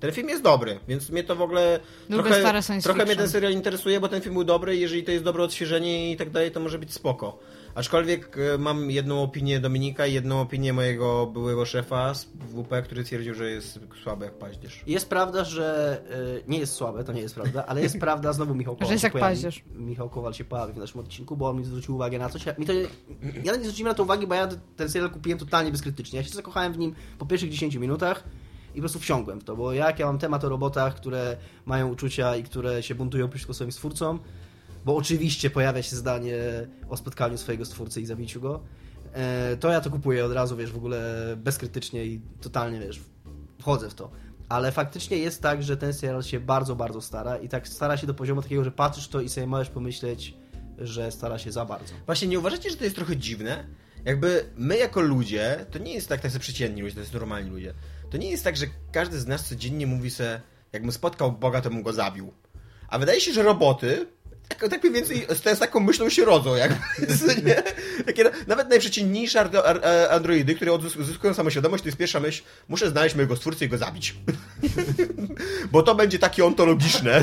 Speaker 3: Ten film jest dobry, więc mnie to w ogóle.
Speaker 4: Lubię
Speaker 3: trochę,
Speaker 4: stare science
Speaker 3: Trochę mnie
Speaker 4: fiction.
Speaker 3: ten serial interesuje, bo ten film był dobry i jeżeli to jest dobre odświeżenie i tak dalej, to może być spoko. Aczkolwiek e, mam jedną opinię Dominika i jedną opinię mojego byłego szefa z WP, który twierdził, że jest słaby jak paździerz.
Speaker 2: Jest prawda, że y, nie jest słabe, to nie jest prawda, ale jest prawda, znowu Michał Kowal.
Speaker 4: Że jest
Speaker 2: się
Speaker 4: jak
Speaker 2: pojawi.
Speaker 4: paździerz.
Speaker 2: Michał Kowal się pojawi w naszym odcinku, bo on mi zwrócił uwagę na coś. Ja- Mi to, nie- ja nie zwróciłem na to uwagi, bo ja ten serial kupiłem totalnie bezkrytycznie. Ja się zakochałem w nim po pierwszych 10 minutach i po prostu wsiągłem w to, bo jak ja mam temat o robotach, które mają uczucia i które się buntują przeciwko swoim stwórcom, bo oczywiście pojawia się zdanie o spotkaniu swojego stwórcy i zabiciu go, e, to ja to kupuję od razu, wiesz, w ogóle bezkrytycznie i totalnie, wiesz, wchodzę w to. Ale faktycznie jest tak, że ten serial się bardzo, bardzo stara i tak stara się do poziomu takiego, że patrzysz w to i sobie możesz pomyśleć, że stara się za bardzo.
Speaker 3: Właśnie nie uważacie, że to jest trochę dziwne? Jakby my jako ludzie, to nie jest tak, tacy przeciętni ludzie, to jest normalni ludzie. To nie jest tak, że każdy z nas codziennie mówi se, jakbym spotkał Boga, to bym go zabił. A wydaje się, że roboty, tak, tak mniej więcej z, z taką myślą się rodzą, jakby, co nie? Takie, na- nawet najprzecinniejsze ar- ar- e, androidy, które odzys- uzyskują samoświadomość, to jest pierwsza myśl, muszę znaleźć mojego stwórcę i go zabić. Bo to będzie takie ontologiczne.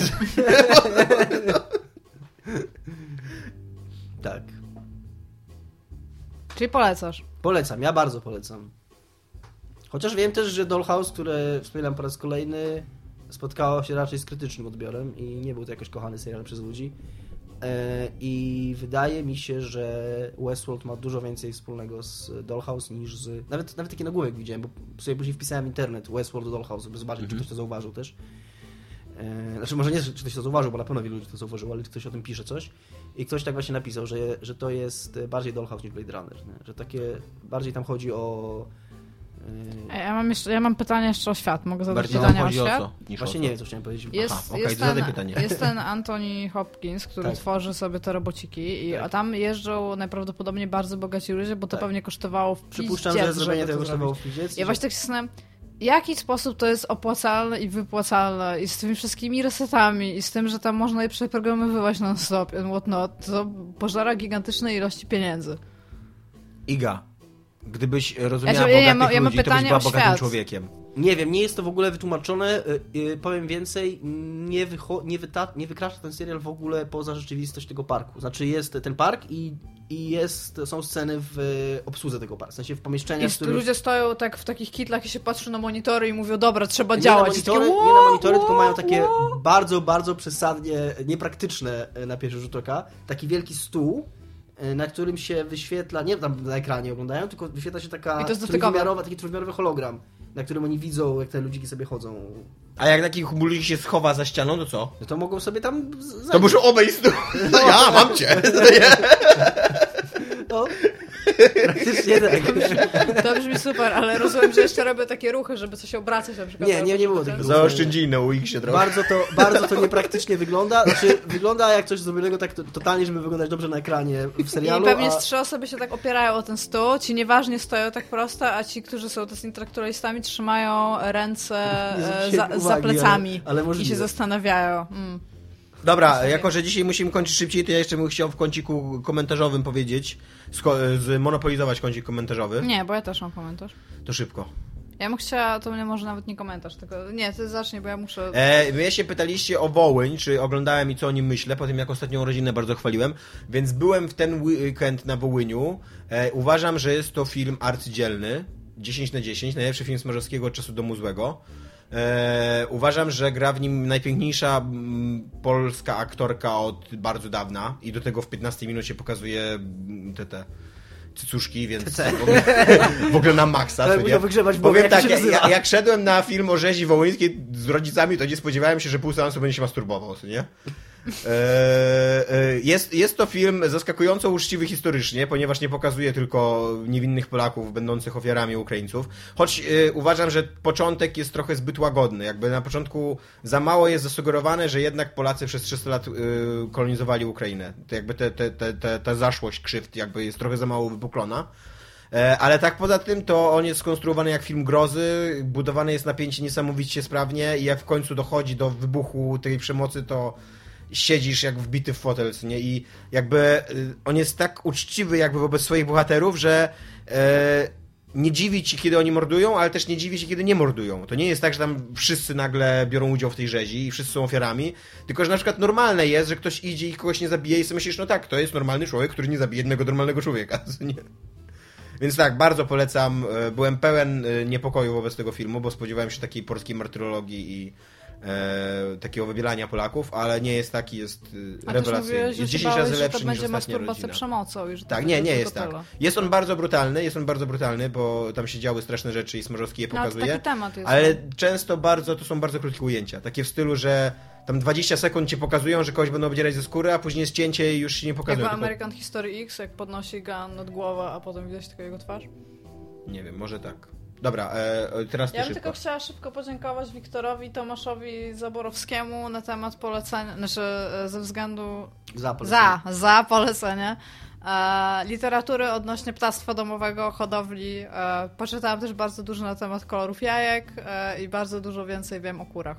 Speaker 2: Tak.
Speaker 4: Czyli polecasz.
Speaker 2: Polecam, ja bardzo polecam. Chociaż wiem też, że Dollhouse, które wspominam po raz kolejny, spotkało się raczej z krytycznym odbiorem i nie był to jakoś kochany serial przez ludzi. E, I wydaje mi się, że Westworld ma dużo więcej wspólnego z Dollhouse niż z. Nawet, nawet taki nagłówek widziałem, bo sobie później wpisałem w internet Westworld Dollhouse, żeby zobaczyć, czy ktoś to zauważył też. E, Znaczy, może nie, że ktoś to zauważył, bo na pewno wielu ludzi to zauważyło, ale ktoś o tym pisze coś. I ktoś tak właśnie napisał, że, że to jest e, bardziej Dollhouse niż Blade Runner. Nie? Że takie, bardziej tam chodzi o... e,
Speaker 4: Ej, Ja mam, jeszcze, ja mam pytanie jeszcze o świat. Mogę zadać
Speaker 3: Bardziej
Speaker 4: pytanie o
Speaker 3: chodzi o
Speaker 4: świat?
Speaker 3: co? Niż o
Speaker 2: Właśnie
Speaker 3: co?
Speaker 2: nie wiem, co chciałem powiedzieć.
Speaker 4: Jest,
Speaker 3: Aha, okej,
Speaker 4: jest,
Speaker 3: to zadaj
Speaker 4: ten,
Speaker 3: pytanie.
Speaker 4: jest ten Anthony Hopkins, który
Speaker 2: Tak.
Speaker 4: tworzy sobie te robociki i
Speaker 2: Tak.
Speaker 4: a tam jeżdżą najprawdopodobniej bardzo bogaci ludzie, bo to
Speaker 2: Tak.
Speaker 4: pewnie kosztowało w
Speaker 2: Przypuszczam,
Speaker 4: piździec,
Speaker 2: że zrobienie
Speaker 4: żeby
Speaker 2: tego
Speaker 4: to
Speaker 2: kosztowało
Speaker 4: zrobić.
Speaker 2: w piździec. i
Speaker 4: Ja właśnie tak się zastanawiam, w jaki sposób to jest opłacalne i wypłacalne i z tymi wszystkimi resetami i z tym, że tam można je przeprogramowywać non-stop and whatnot, to pożera gigantycznej ilości pieniędzy.
Speaker 3: Iga, gdybyś rozumiała
Speaker 4: Znaczy, Ja się- ja
Speaker 3: bogatych
Speaker 4: mam- ja mam
Speaker 3: ludzi, to byś
Speaker 4: pytanie
Speaker 3: była
Speaker 4: o
Speaker 3: bogatym
Speaker 4: świat.
Speaker 3: człowiekiem.
Speaker 2: że- Nie wiem, nie jest to w ogóle wytłumaczone. y, y, Powiem więcej, nie, wycho- nie, wyta- nie wykracza ten serial w ogóle poza rzeczywistość tego parku. Znaczy jest ten park i, i jest, są sceny w y, obsłudze tego parku. W sensie w
Speaker 4: I
Speaker 2: pomieszczeniach, w
Speaker 4: st-
Speaker 2: których...
Speaker 4: ludzie stoją tak w takich kitlach i się patrzą na monitory i mówią, dobra, trzeba
Speaker 2: nie
Speaker 4: działać.
Speaker 2: Na
Speaker 4: I
Speaker 2: monitory,
Speaker 4: takie,
Speaker 2: nie na monitory, tylko
Speaker 4: "Ło,
Speaker 2: mają takie
Speaker 4: ło".
Speaker 2: bardzo, bardzo przesadnie niepraktyczne e, na pierwszy rzut oka. Taki wielki stół, e, na którym się wyświetla, nie tam na ekranie oglądają, tylko wyświetla się taka
Speaker 4: I to jest dotykowe.
Speaker 2: trójwymiarowa, taki trójwymiarowy hologram, na którym oni widzą, jak te ludziki sobie chodzą.
Speaker 3: A jak taki ludzi się schowa za ścianą, to co?
Speaker 2: No to mogą sobie tam z- zajrzeć.
Speaker 3: To muszę obejść. No, ja mam cię. No, nie.
Speaker 2: No, praktycznie tak.
Speaker 4: To brzmi super, ale rozumiem, że jeszcze robię takie ruchy, żeby coś obracać na przykład.
Speaker 2: Nie, nie, nie było tego.
Speaker 3: Zaoszczędzili na Wixie trochę.
Speaker 2: Bardzo to, bardzo to niepraktycznie wygląda. Znaczy, wygląda jak coś zrobionego tak to- totalnie, żeby wyglądać dobrze na ekranie w serialu.
Speaker 4: I pewnie
Speaker 2: a...
Speaker 4: z trzy osoby się tak opierają o ten stół, ci nieważnie stoją tak prosto, a ci, którzy są też intelektualistami, trzymają ręce
Speaker 2: Nie
Speaker 4: e,
Speaker 2: zwróciłem
Speaker 4: za, za
Speaker 2: uwagi,
Speaker 4: plecami
Speaker 2: ale- ale
Speaker 4: i
Speaker 2: możliwe.
Speaker 4: się zastanawiają. Mm.
Speaker 3: Dobra, jako że dzisiaj musimy kończyć szybciej, to ja jeszcze bym chciał w kąciku komentarzowym powiedzieć, sko- e, zmonopolizować kącik komentarzowy.
Speaker 4: Nie, bo ja też mam komentarz.
Speaker 3: To szybko.
Speaker 4: Ja bym chciała, to mnie może nawet nie komentarz, tylko nie, ty zacznij, bo ja muszę...
Speaker 3: E, mnie się pytaliście o Wołyń, czy oglądałem i co o nim myślę, po tym jak ostatnią rodzinę bardzo chwaliłem, więc byłem w ten weekend na Wołyniu. E, uważam, że jest to film arcydzielny, 10 na 10, najlepszy film Smarzowskiego od czasu Domu Złego. E, uważam, że gra w nim najpiękniejsza mm, polska aktorka od bardzo dawna i do tego w 15 minucie pokazuje mm, te te cycuszki, więc w ogóle, w ogóle na maksa.
Speaker 2: Ale
Speaker 3: co nie?
Speaker 2: musiał wygrzebać Boga,
Speaker 3: Powiem
Speaker 2: jak to
Speaker 3: tak,
Speaker 2: się
Speaker 3: ja, ja,
Speaker 2: nazywa.
Speaker 3: jak szedłem na film o rzezi wołyńskiej z rodzicami, to nie spodziewałem się, że pół seansu będzie się masturbował, co nie? Eee, e, Jest, jest to film zaskakująco uczciwy historycznie, ponieważ nie pokazuje tylko niewinnych Polaków będących ofiarami Ukraińców. Choć e, uważam, że początek jest trochę zbyt łagodny. Jakby na początku za mało jest zasugerowane, że jednak Polacy przez 300 lat e, kolonizowali Ukrainę. To jakby te, te, te, te, ta zaszłość krzywd jakby jest trochę za mało wypuklona. E, Ale tak poza tym, to on jest skonstruowany jak film grozy, budowane jest napięcie niesamowicie sprawnie i jak w końcu dochodzi do wybuchu tej przemocy, to siedzisz jak wbity w fotel, co nie? I jakby y, on jest tak uczciwy jakby wobec swoich bohaterów, że e, nie dziwi ci, kiedy oni mordują, ale też nie dziwi się, kiedy nie mordują. To nie jest tak, że tam wszyscy nagle biorą udział w tej rzezi i wszyscy są ofiarami, tylko że na przykład normalne jest, że ktoś idzie i kogoś nie zabije i sobie myślisz, no tak, to jest normalny człowiek, który nie zabije jednego normalnego człowieka, co nie? Więc tak, bardzo polecam. E, Byłem pełen e, niepokoju wobec tego filmu, bo spodziewałem się takiej polskiej martyrologii i e, takiego wybielania Polaków, ale nie jest taki, jest e,
Speaker 4: A też
Speaker 3: rewelacyjny.
Speaker 4: mówiłeś,
Speaker 3: Jest
Speaker 4: że
Speaker 3: 10
Speaker 4: się bałeś,
Speaker 3: razy
Speaker 4: że
Speaker 3: lepszy
Speaker 4: to
Speaker 3: niż
Speaker 4: będzie
Speaker 3: Ostatnia
Speaker 4: masturbacja
Speaker 3: rodzina.
Speaker 4: przemocą. I że to
Speaker 3: Tak,
Speaker 4: będzie
Speaker 3: nie, nie
Speaker 4: tylko
Speaker 3: jest tak.
Speaker 4: tyle.
Speaker 3: Jest on bardzo brutalny, jest on bardzo brutalny, bo tam się działy straszne rzeczy i Smarzowski je
Speaker 4: No, ale to
Speaker 3: pokazuje.
Speaker 4: taki temat jest. no.
Speaker 3: Ale często bardzo, to są bardzo krótkie ujęcia. Takie w stylu, że tam 20 sekund cię pokazują, że kogoś będą obdzierać ze skóry, a później jest cięcie i już się nie
Speaker 4: Jak
Speaker 3: pokazują.
Speaker 4: w
Speaker 3: tylko-
Speaker 4: American History X, jak podnosi gun nad głowę, a potem widać tylko jego twarz.
Speaker 3: Nie wiem, może tak. Dobra, e, e, teraz ty
Speaker 4: Ja bym
Speaker 3: szybko.
Speaker 4: tylko chciała szybko podziękować Wiktorowi Tomaszowi Zaborowskiemu na temat polecenia, znaczy e, ze względu
Speaker 2: Za, polecenie.
Speaker 4: za, za polecenie e, literatury odnośnie ptactwa domowego, hodowli. E, poczytałam też bardzo dużo na temat kolorów jajek e, i bardzo dużo więcej wiem o kurach.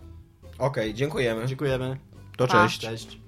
Speaker 3: Okej, dziękujemy.
Speaker 2: Dziękujemy.
Speaker 3: To
Speaker 4: Pa.
Speaker 3: cześć.
Speaker 2: Cześć.